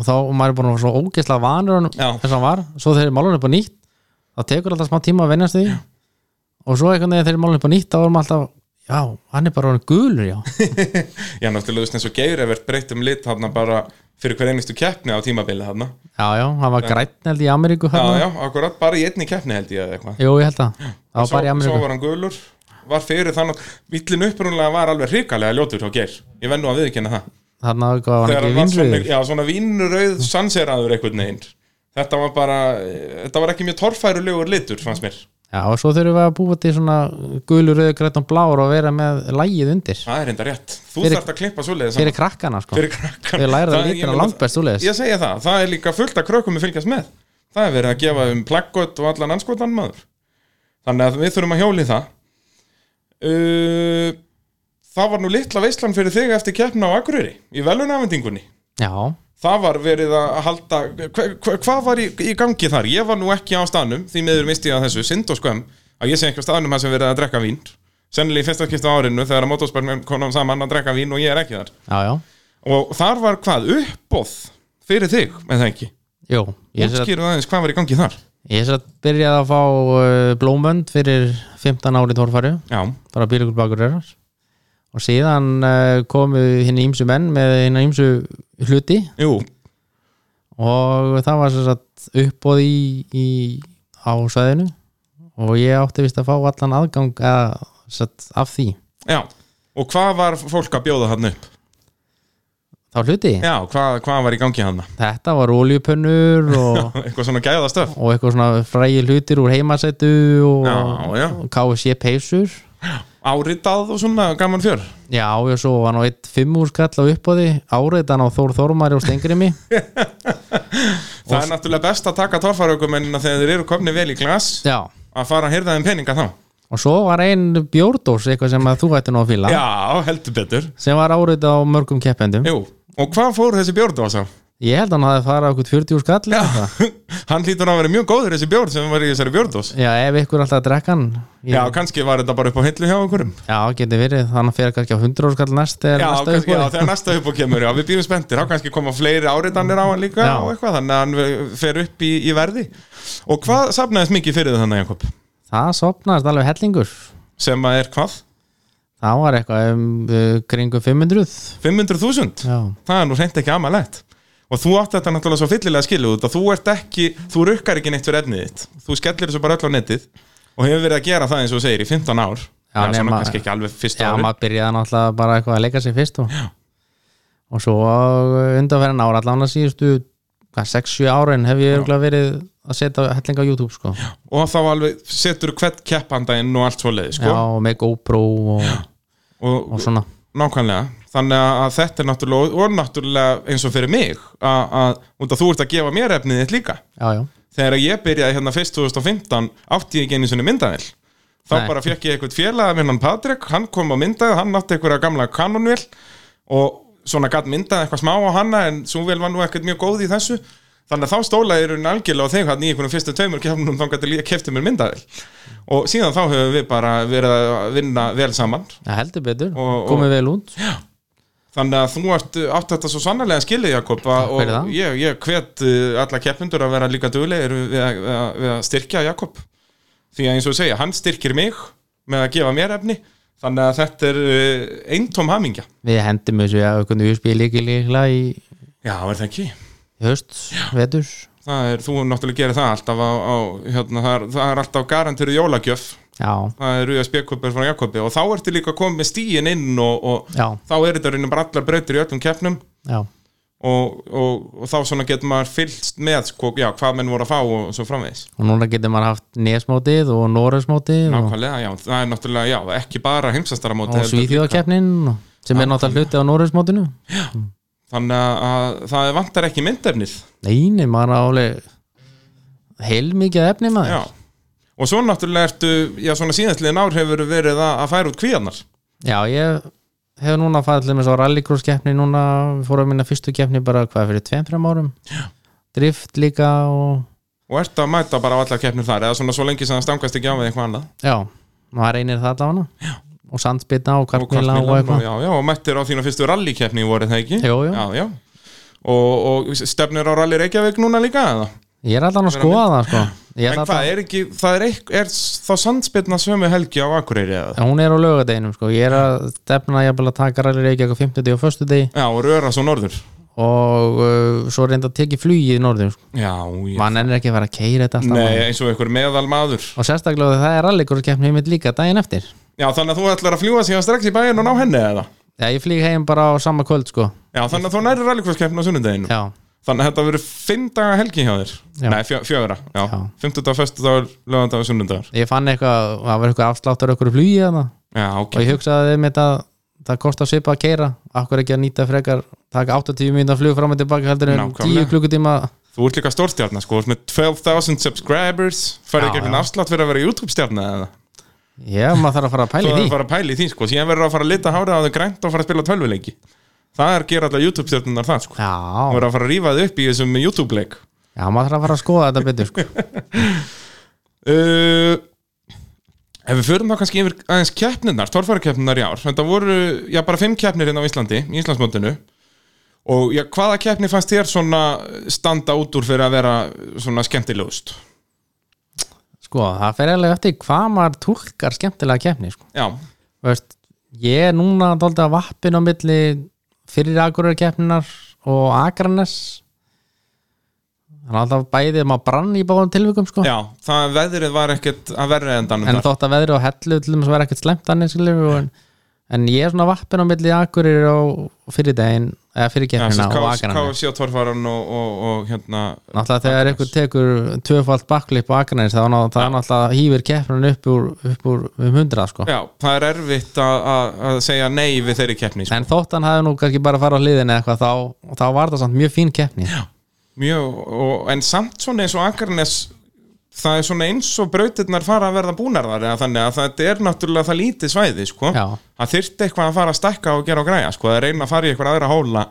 og þá og maður er búin að vera svo ógeðslega vanur honum
Já.
þess að hann var, svo þegar þeir málan upp á nýtt þá tekur alltaf smá tíma að venjast því og svo einhvern veginn þegar þeir málan upp á nýtt þá er maður alltaf, já, hann er bara orðin gulur
(laughs)
já,
Já, náttúrulega, þú veist eins og Geir hefur breytt um lit þarna bara fyrir hver einustu keppni á tímabili þarna.
já, já, hann var grætn held í Ameríku
Já,
hérna.
já, akkurat, bara í einni keppni held ég eða eitthvað.
Jú, ég held að, það var bara í
Svo
Ameríku
var hann gulur, var fyrir þannig, bíllinn upprúnlega var alveg hrikalega ljótur hjá Geir. Ég venn nú að viðkynna það.
þarna var hann
Þegar
ekki
hann var svona,
vinnröður
já, svona vínrauð sanseraður einhvern veginn. Þetta var bara, þetta var ekki mjög torfærulegur litur, fannst mér.
Já, og svo þurfum við að búa til svona gulur, rauður, grætn og blár og vera með lægið undir,
Það er enda rétt. Þú
Fyrir-
þarft að klippa svoleiðis.
fyrir krakkana sko,
fyrir krakkan
Þau læra það lítina langbest svoleiðis.
Ég segja það, það er líka fullt af krökkum við fylgjast með Það er verið að gefa um plakkot og allan anskotan maður Þannig að við þurfum að hjóli það uh, Það var nú litla veislan fyrir þig eftir keppna á Akureyri Í velunafendingunni
já,
Það var verið að halda hva, hva, Hvað var í, í gangi þar? Ég var nú ekki á staðnum Því miður misti ég að þessu synd og skoðum Að ég sé ekki á staðnum þar sem verið að drekka vín Sennilega í fyrsta skipta á árinu þegar að motorspörnum konum saman að drekka vín og ég er ekki þar
já, já,
Og þar var hvað uppbóð fyrir þig, með það ekki
jú, ég sé að
Útskýrðu aðeins hvað var í gangi þar
Ég er satt byrjaði að fá uh, blómönd fyrir 15 ári tórfæru
Já,
bara bílugur bakur erar og síðan uh, komu hinn ímsu menn með hinn ímsu hluti
jú,
og það var sem sagt uppbóð í, í á svæðinu og ég átti vist að fá allan aðgang að, satt, af því
já Og hvað var fólk að bjóða þarna upp?
þá hluti,
Já, hvað, hvað var í gangi þarna? (laughs)
þetta var oljupönnur og,
Eitthvað svona gæðastöf
og eitthvað svona frægi hlutir úr heimasætu og,
Já, já.
og KFC peysur
Áritað og svona gaman fjör
Já, ég svo var nú eitt fimmúrskall á uppóði áreitan á Þór Þormari og
(laughs)
Stengrimi
Það er náttúrulega best að taka torfaraukumennina þegar þeir eru komni vel í glas
Já,
að fara að hyrða þeim peninga þá
og svo var ein bjórdós eitthvað sem að þú ætti nú að fíla
Já, heldur betur
sem var áreita á mörgum keppendum
Jú, og hvað fór þessi bjórn á sá?
Ég held að hann hafði farað okkur 40 skall
Já,
eða eitthvað.
hann hlýtur að vera mjög góður þessi bjórn sem var í þessari bjórndós
Já, ef ykkur alltaf að drekka hann
Já,
ég,
kannski var þetta bara upp á hillu hjá einhverjum
já geti verið, þannig fer kannski á 100 skall næst eða
Já,
næsta
kannski, já,
uppóði
þegar næsta uppbóð kemur, já, við býðum spenntir þá kannski koma fleiri áritanir á hann líka
Já.
og eitthvað, þannig að hann ver- fer upp í, í verði og hvað safnaðist mikið fyrir þannig Jakob?
Það sopnaðist alveg hellingur
sem að er hvað?
Það var eitthvað um, uh, kringu 500
500.000?
Já,
Það er nú reynd ekki amalegt og þú átt þetta náttúrulega svo fyllilega skiluð út að þú ert ekki, þú rukkar ekki neitt fyrir efnið þitt, þú skellir þessu bara öll á netið og hefur verið að gera það eins og þú segir í 15 ár
Já,
já, svona
nema-
kannski ekki alveg fyrsta
já
ári
maður byrjaði náttúrulega bara eitthvað að leika sér fyrst og, og svo uh, undanferðin ára allan að síðustu hvað, 6-7 árin hef ég örugglega verið að setja helling á YouTube sko. já,
og þá alveg setur hvern keppanda inn og allt svo leiði sko.
og með GoPro og,
og,
og svona
Nákvæmlega, þannig að þetta er náttúrulega og náttúrulega eins og fyrir mig að, að, út að þú ert að gefa mér efnið þitt líka
já, já,
þegar ég byrjaði hérna fyrst 2015 átti ég ekki einu sinni myndavél þá
Nei.
bara fekk ég eitthvað félaga minnan Patrik hann kom á myndaði, hann átti einhverja gamla kanonvél og svona gatt myndaði eitthvað smá á hanna en svo vel var nú ekkert mjög góð í þessu þannig að þá stólaði raunin algjörlega á þig hann í einhvernum fyrstu taumur kefnum þá gæti líka kefti mér myndaði og síðan þá höfum við bara verið að vinna vel saman
já, heldur betur
Og- og-
komið vel út
Þannig að þú ert uh, átt þetta svo sannarlega skilið Jakob að-
fyrir það.
og ég, eh, ég hvet uh, alla keppendur að vera líka duglegir við, að- við, að- við að styrkja Jakob því að eins og ég segja, hann styrkir mig með að gefa mér efni þannig að þetta er uh, eintóm hamingja
Við hendum þessu að auðvitað USB líki líkla í
Já, er það ekki?
í haust, vetur
Það er, þú náttúrulega gerir það alltaf á, á hérna, það, er, það er alltaf garantirðu jólagjöf
Já,
það eru USB-kuppur frá Jakobi og þá ertu líka komið með stíin inn og, og
já,
þá er þetta reynum bara allar breytir í öllum keppnum
já
og, og, og þá svona getur maður fylgst með sko, já, hvað menn voru að fá og svo framvegis
Og núna getur maður haft nesmótið og noresmótið og,
Nákvæmlega, já, það er náttúrulega, já, ekki bara heimsastaramóti
og svíþjóðakefnin og- sem er náttúrulega hluti á noresmótinu
Þannig að- að það vantar ekki myndefnið
Nei, nei, maður er álega heilmikið efni maður
Já Og svo náttúrulega ertu, já, svona síðastliðin ár hefur verið að, að færa út kvíðarnar
Já, ég hef núna farið til þess að rallycross keppni núna, við fórum að minna fyrstu keppni bara hvað fyrir tveim, þreim árum Já. drift líka og
og ertu að mæta bara á allar keppnir þar eða svona svo lengi sem það stangast ekki á við eitthvað annað
já, maður reynir það allavega Já. og sandspitna og kartmila og,
Kvartmýlan
eitthvað
já, já, og mættir á þína fyrstu rallykeppni voru það ekki
Jú, jú.
Já, já. Og, og stefnir á rally Reykjavík núna líka eða?
Ég er allavega að skoða það sko Ég
en
ætla
hvað, er ekki, það er, eitth- er þá sandspilna sömu helgi á Akureyri eða?
að- hún er á lögadeginum sko Ég er að stefna að ég að taka rally reykja á 50 og 1. degi
Já, og röra svo norður
og uh, svo reynda að teki flugið í norðum sko.
Já, já
mann ennir ekki að vera að keira þetta alltaf
Nei,
maður.
eins og einhver meðal maður
og sérstaklega þegar það er rallycross keppni mitt líka daginn eftir
Já, þannig að þú ætlar að fljúa síðan strax í bæinn og ná henni eða?
Já, ég flýg heim bara á sama kvöld sko
Já, þannig að þú næri rallycrosskeppni á sunnudeginu
Já,
Þannig að þetta verður fimm daga helgi hjá þér
Já.
Nei, fjö, fjögra, já, já.
Já.
50 dag, 50 dag, lögandag og sunnudagur
ég fann eitthvað, það var eitthvað afsláttur okkur flugi þarna
Já, ok
og ég hugsaði með það það kostar svipa að keira, akkur ekki að nýta frekar taka 80 mínúta flug fram og tilbaka heldur en
Nákvæmlega.
10 klukkutíma
Þú ert líka stórstjarnar sko, þú ert með 12.000 subscribers Færðu
Já,
ekki einhvern
já.
afslátt fyrir að vera YouTube-stjarnar eða?
Já, maður þarf að fara að
Þú
pæla í
þarf að
því
fara að pæla í því sko Síðan verður að fara að lita hárið á þau grænt og fara að spila tölvuleiki Það er gera allar YouTube-stjarnar það sko Þú
Já,
verður að fara að rífa þau upp í þessum YouTube-leik
já, maður þarf að fara að skoða þetta betur sko.
uh, Ef við förum þá kannski yfir aðeins keppninar, torfærakeppninar í ár Þetta voru, já bara fimm keppnir hérna á Íslandi í Íslandsmótinu Og já, hvaða keppni fannst þér svona standa út úr fyrir að vera svona skemmtilegust?
sko, það fer eiginlega eftir hvað maður túlkar skemmtilega keppni sko.
Já,
Þú veist, ég er núna dálítið að vappin á milli fyrir Akureyri-keppninar og Akranes þannig að alltaf bæðið maður brann í báðum tilvikum sko.
já, það veðrið var ekkert að verra endanum
en
þar
þótt að veðri og hellu til þess að vera ekkert slæmt annir skilur við, og en, en ég er svona vappin á milli Akureyri og fyrir daginn eða fyrir
Já,
keppnina og Akranes
KFC og torfæran og, og, og hérna
náttúrulega þegar einhver tekur tvöfald baklip á Akranes þá ná- það er náttúrulega hýfir keppnin upp úr, upp úr um hundra sko.
Já, það er erfitt að- að að segja nei við þeirri keppni sko.
en þótt hann hafði nú kannski bara að fara á hliðin eða eitthvað þá, þá var það samt mjög fín keppni
Mjög, og, en samt svona eins og Akarnes það er svona eins og brautirnar fara að verða búnar þar eða þannig að þetta er náttúrulega það lítið svæði sko.
Já.
það þyrfti eitthvað að fara að stekka og gera og græja sko. það er reyna að fara í eitthvað aðra hóla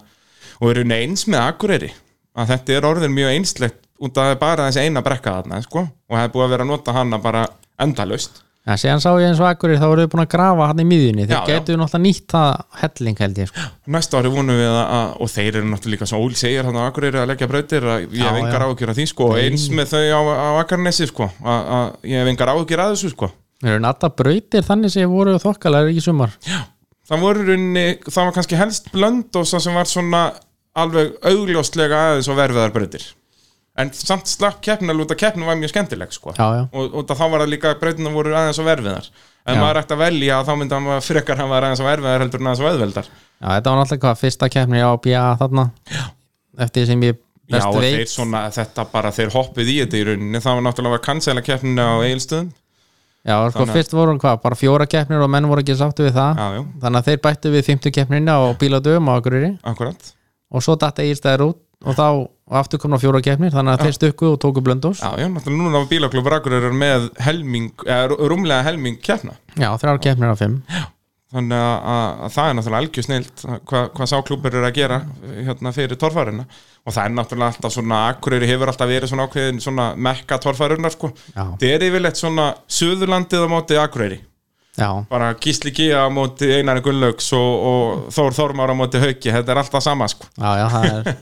og eru neins með Akureyri að þetta er orðin mjög einslegt út að það er bara þessi eina brekka þarna sko. og það er búið að vera að nota hana bara endalaust
Já, síðan sá ég eins og akkurir þá voruð búin að grafa hann í miðjunni þeir
Já, já.
getur náttúrulega nýtt það helling held ég sko.
næsta ári vonum við að, að og þeir eru náttúrulega líka svo ól segir hann á Akureyri að leggja brautir að ég hef
Já,
engar
já.
áhyggjur að því sko og eins með þau á, á Akarnesi sko að, að ég hef engar áhyggjur að þessu sko
Þeir eru natta brautir þannig sem voru þokkalegar í sumar
það voru runni, það var kannski helst blönd og það sem var svona alveg augljóslega aðeins og verfiðar brautir en samt slapp keppnin alveg út að keppnin var mjög skemmtileg sko
Já, já,
og, og það- þá var það líka brautina voru aðeins og verfiðar en
Já.
maður ætti að velja þá myndi hann frekar hann var aðeins og verfiðar heldur en aðeins og auðveldar
já þetta var náttúrulega hvað fyrsta keppni á BA þarna já. eftir sem ég
Já,
best
og þeir
veit
svona, þetta bara, þeir hoppið í þetta í rauninni, það var náttúrulega að cancela keppninu á Egilstöðum,
Já, sko
þannig að-
fyrst voru hvað, bara fjóra keppnir og menn voru ekki sáttu við það
já, já,
þannig að þeir bættu við 50 keppnina og bíladöfum á akkuriri
akkurat
og svo datta eigirstæðir út og þá og aftur komna fjóra keppnir þannig að þeir stukku og tóku blöndós
Já, já, náttúrulega núna var bílaklubur Akureyrar með helming, eða rú- rúmlega helming keppna,
Já, þrjár keppnir á fimm
þannig að, að, að það er náttúrulega algjör snilt hvað hva sá klubur eru að gera hérna fyrir torfæruna og það er náttúrulega alltaf svona Akureyri hefur alltaf verið svona ákveðin svona mekka torfærunar sko,
Já,
það er yfirleitt svona Suðurlandið á móti Akureyri
já,
bara Gísli Gía á móti Einari Gunnlaugs og, og Þór Þormar á móti Hauki, þetta er alltaf sama sko
já, já það
(laughs)
er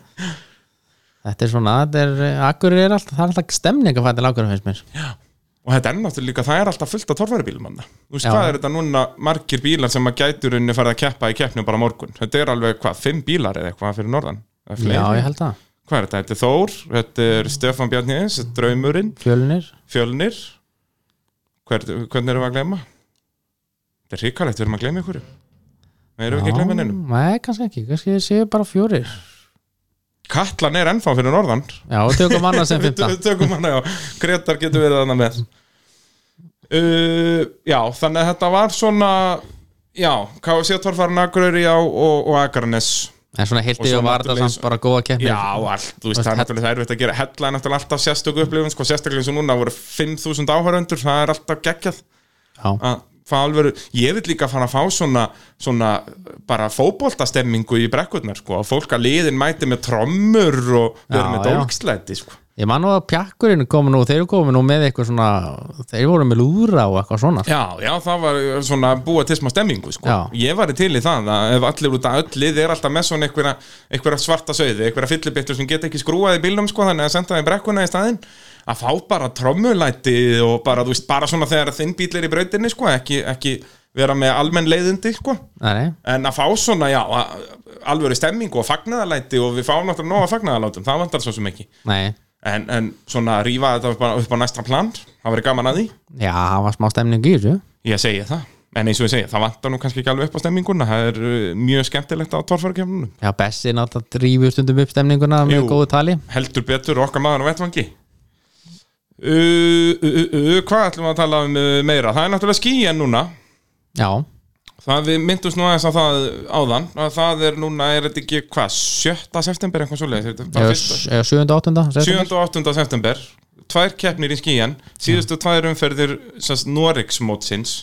Þetta er svona, þetta er, akkurri er alltaf, það er alltaf stemning að fæta lágur finnst mér
og þetta er náttúrulega líka, það er alltaf fullt af torfæribílum hann. Þú veist,
Já.
hvað er þetta núna margir bílar sem að gætur unni farið að keppa í keppnum bara á morgun? Þetta er alveg, hvað, fimm bílar eða eitthvað fyrir norðan? Eða fleiri?
Já, ég held það,
Hvað er þetta? Þetta er Þór, þetta er Stefán Bjarniðins, Draumurinn,
fjölunir
Fjölnir Hver, Hvernig erum við að gleyma? Þetta er ríkalegt, við erum að gleyma ykkur Við erum ekki að gleyma neinum
Nei, kannski ekki, kannski séu bara fjórir
Katlan er ennfá fyrir norðan
Já, og
(laughs)
tökum annað sem
Við
15
við tökum hana, já Gretar getur verið hana með uh, Já, þannig að þetta var svona Já, KFC Torfarinn Akureyri já, og, og Akranes
En svona
Og
heilti
svo
og var það
náttúrulega
samt bara góða keppni
Já, allt, þú veist,
Veist,
það er
hell-
náttúrulega erfitt að gera Hella er náttúrulega alltaf sérstöku upplifun sko, Sérstaklega eins og núna voru 5.000 áhörundur Það er alltaf geggjað
Já.
að fá alveg, ég vil líka fara að fá svona, svona bara fótboltastemmingu í brekkurnar sko, að fólk að liðin mæti með trommur og verið
Já,
með
já.
dólkslæti sko.
Ég man nú að pjakkurinn komu nú, þeir komu nú með eitthvað svona, þeir voru með lúðra og eitthvað svona.
já, já, það var eh, svona búa til smá stemmingu sko.
Já.
ég var til í það að ef allir út að öll lið er alltaf með svona einhverja, einhverja svarta sauði, einhverja fyllibittur sem get ekki skrúað í bílnum sko, þannig að senda það í brekkuna í staðinn að fá bara trommulæti og bara, þú veist, bara svona þegar þinn bíl er í brautinni sko, ekki, ekki vera með almenn leiðindi sko.
Nei, nei,
En að fá svona, já, að- alvöru stemmingu og fagnaðalæti og við fáum náttúrulega nóga fagnaðalátum, það vantar svo sem ekki.
nei,
En, en svona rífa þetta bara upp á næsta plan, það verið gaman að því,
já, það var smá stemning í þessu.
ég segi það. En eins og ég segi, það vantar nú kannski ekki alveg upp á stemminguna, það er uh, mjög skemmtilegt á torfærukefnunum.
Já, Bessi náttúrulega drífur stundum upp stemninguna með
Jú.
góðu tali.
Heldur betur okkar maður á vettvangi. Uh, uh, uh, uh, hvað ætlum við að tala um uh, meira? Það er náttúrulega skíin núna.
Já,
Það við myndumst nú aðeins á það áðan að það er núna, er þetta ekki hvað, 7. september eitthvað svoleiðis, er þetta bara
eða
fyrsta-
eða 7. og 8.
7. og 8. september tvær keppnir í skíjan síðustu tvær umferðir Noregsmótsins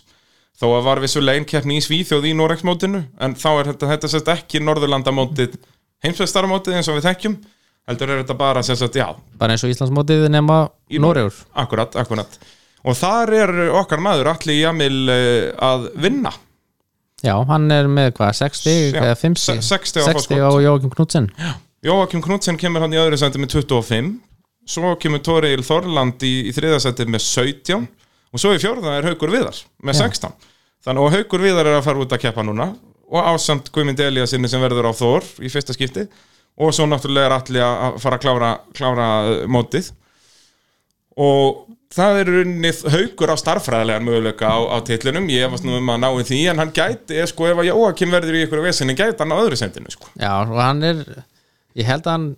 þó að var vissulega ein keppni í Svíþjóð í Noregsmótinu en þá er þetta, þetta sérst ekki Norðurlandamótið heimsveistarmótið eins og við þekkjum heldur er þetta bara sérst, já,
Bara eins og Íslandsmótið nema
Í-
Noregur.
akkurat, akkurat og þar er okkar maður allir jamil eh, að vinna
Já, hann er með hvað, 60
Já,
eða 50?
se- 60 á
60 á
forskot.
Jókim Knudsen.
Jóakim Knudsen kemur hann í öðru sendi með 25 svo kemur Tóriil Þorland í, í þriða sendi með 17 og svo í fjórða er Haugur Viðar með
Já.
16 þannig að Haugur Viðar er að fara út að keppa núna og ásamt Guðmund Elía sinni sem verður á Þór í fyrsta skipti og svo náttúrulega er allir að fara að klára, klára eh, mótið og það er runnið haukur á starffræðilegan möguleika á, á titlinum, ég varst nú um að náu því en hann gæti, eh, sko ef að Jóakim verður í ykkur vesinni gæti hann á öðru sendinu sko.
Já, og hann er, ég held að hann,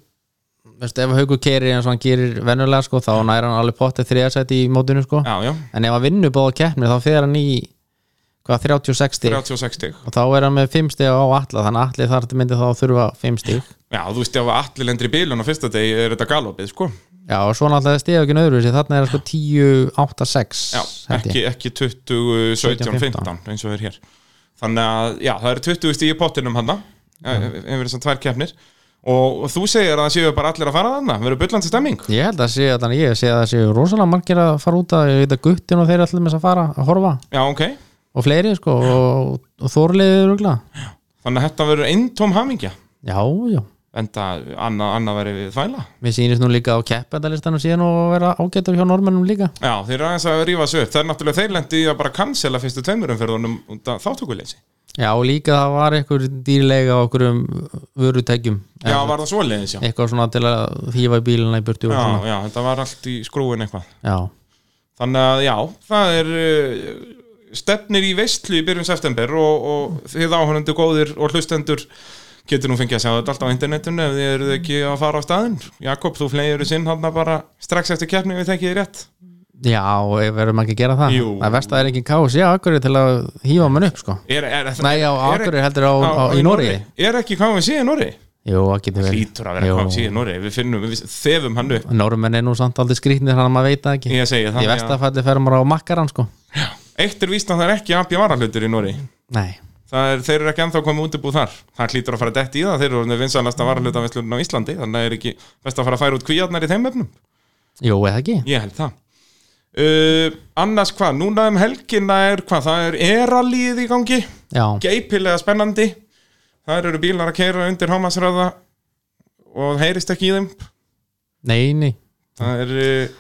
veistu, ef Haukur kerir eins og hann gerir vennulega, sko, þá nær hann alveg pottið þriðarsætt í mótinu, sko.
já, já,
en ef hann vinnur báða keppnir þá fer hann í hvað 36 stík
36 stig
og þá er hann með 5 stík á alla þannig að allir þar myndi þá þurfa 5 stík
Já, þú veist, ef allir lendir í bílun á fyrsta degi er þetta galopið, sko
já og svo náttúrulega stík ekki nöðru þannig er það sko 10, 8, 6
Já, ekki, ekki 20, 17, 15 eins og er hér Þannig að, já, það eru 20 stíð í pottinum hann eh, yfir þessar tvær keppnir og, og þú segir að það séu bara allir að fara þarna verður bullandi stemming
ég held að sé að þannig ég sé að það sé rosalega margir að fara út að ég veit að guttin og þeir allir með þess að fara að horfa
Já, ok,
og fleiri sko og, og þorliðið rugla
þannig að þetta verður eintóm hamingja
já já
en það annað anna verið við þvæla
Mér sýnist nú líka á keppendalistanum síðan og vera ágættur hjá normennum líka
Já, þeir eru aðeins að rífa svo upp Það er náttúrulega þeir lendi í að bara cancela fyrstu tveimur umferðunum út af þáttúkuleysi
Já, og líka það var einhver dýrlega á okkur um vörutækjum
Já, var það svoleiðis, já
eitthvað svona til að þýfa í bíluna í burtu og
Já,
svona
já, þetta var allt í skrúin eitthvað
já,
Þannig að já, það er uh, stefnir í veistlu í byrjun september og, og þið áhörundu góðir og hlustendur getur nú fengið að sjá þetta allt á internetinu ef þið eruð ekki að fara á staðinn. Jakob, þú flegiru sinn hann bara strax eftir keppni ef við þekki þið rétt.
já og ef verðum ekki að gera það
Jú.
það verst að það er ekki kás, já, akkur til að hýfa mann upp sko,
Er, er,
nei, já, akkur heldur á, á,
á-
í Nóri,
Er ekki KFC í Nóri?
jú, það getur verið
Lítur að vera
Jú.
KFC í Nóri, við finnum, við þefum hann upp.
Norrmenn er nú samt aldrei skrýtnir hann að maður veit það ekki,
Ég segi
í
það.
versta falli fer maður á makkaran sko,
já. Eitt er víst að það er ekki abja varahlutur í Nóri.
nei
Það er, þeir eru ekki ennþá komið út í búð þar Það hlýtur að fara dett í það, þeir eru vinsanasta varalutavinslun á Íslandi, þannig að er ekki best að fara að færa út kvíarnar í þeim efnum
jú, eða ekki,
Ég held það uh, Annars hvað, núna um helgina er hvað, það er eralíð í gangi
já,
geipilega spennandi Þar eru bílar að keira undir hámasræða og það heyrist ekki í þeim
nei, nei
Það er, uh,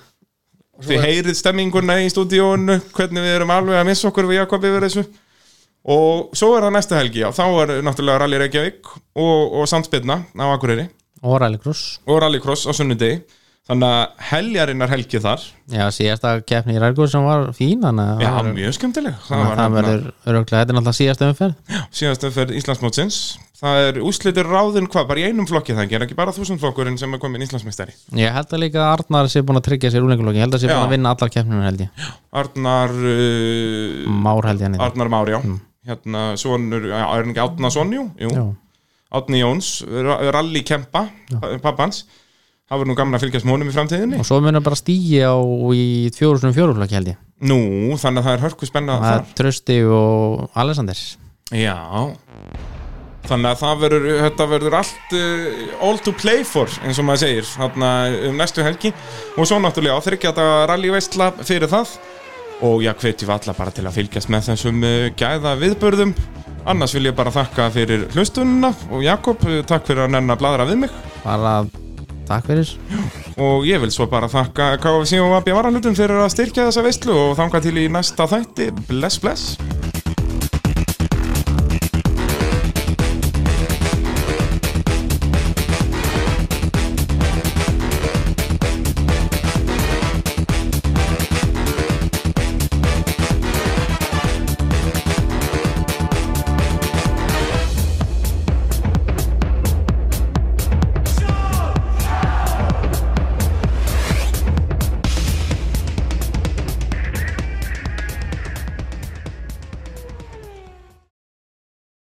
Þið heyrið stemminguna í stúdíónu hvernig við erum alveg að missa okkur við Jakob yfir þessu og svo er það næsta helgi já, þá er náttúrulega Rally Reykjavík og, og Sandspirna á Akureyri
og rallycross
og Rallycross á sunnudegi þannig að heljarinnar helgi þar
já, síðasta keppni í rallycross sem var fín þannig að
já,
það verður-
mjög skemmtileg það var
það
hérna
verður öruglega, þetta er náttúrulega síðasta umferð
síðast umferð Íslandsmótsins það er úslitur ráðin hvað, bara í einum flokki það er ekki bara þúsundflokkurinn sem er komin Íslandsmeistari
ég held að líka að Arnar sé búin að tryggja sér úlengulokin, ég held að sé búin
Já.
að vinna allar keppninu held ég,
Arnar uh,
Már held ég hann heitir.
Arnar Már, já hérna, sonur, já, er hann ekki Átna Sonjú? Jú,
Mm. já,
Átni Jóns Rally Kempa, eh, pappans það var nú gaman að fylgjast mónum í framtíðinni
og svo munum bara stígi á í 2004 flokki held ég,
nú, þannig að það er hörku spennað
það
þar,
er Trösti og Alexander
já þannig að það verður, þetta verður allt uh, all to play for, eins og maður segir þarna um næstu helgi og svo náttúrulega á þryggja þetta rally veistla fyrir það og já, hvetjum við alla bara til að fylgjast með þessum uh, gæða viðbörðum annars vil ég bara þakka fyrir hlustununa og Jakob, uh, takk fyrir að nenn að bladra við mig
bara takk fyrir
og ég vil svo bara þakka KFC og AB Varalutum fyrir að styrkja þessa veistlu og þanga til í næsta þætti bless bless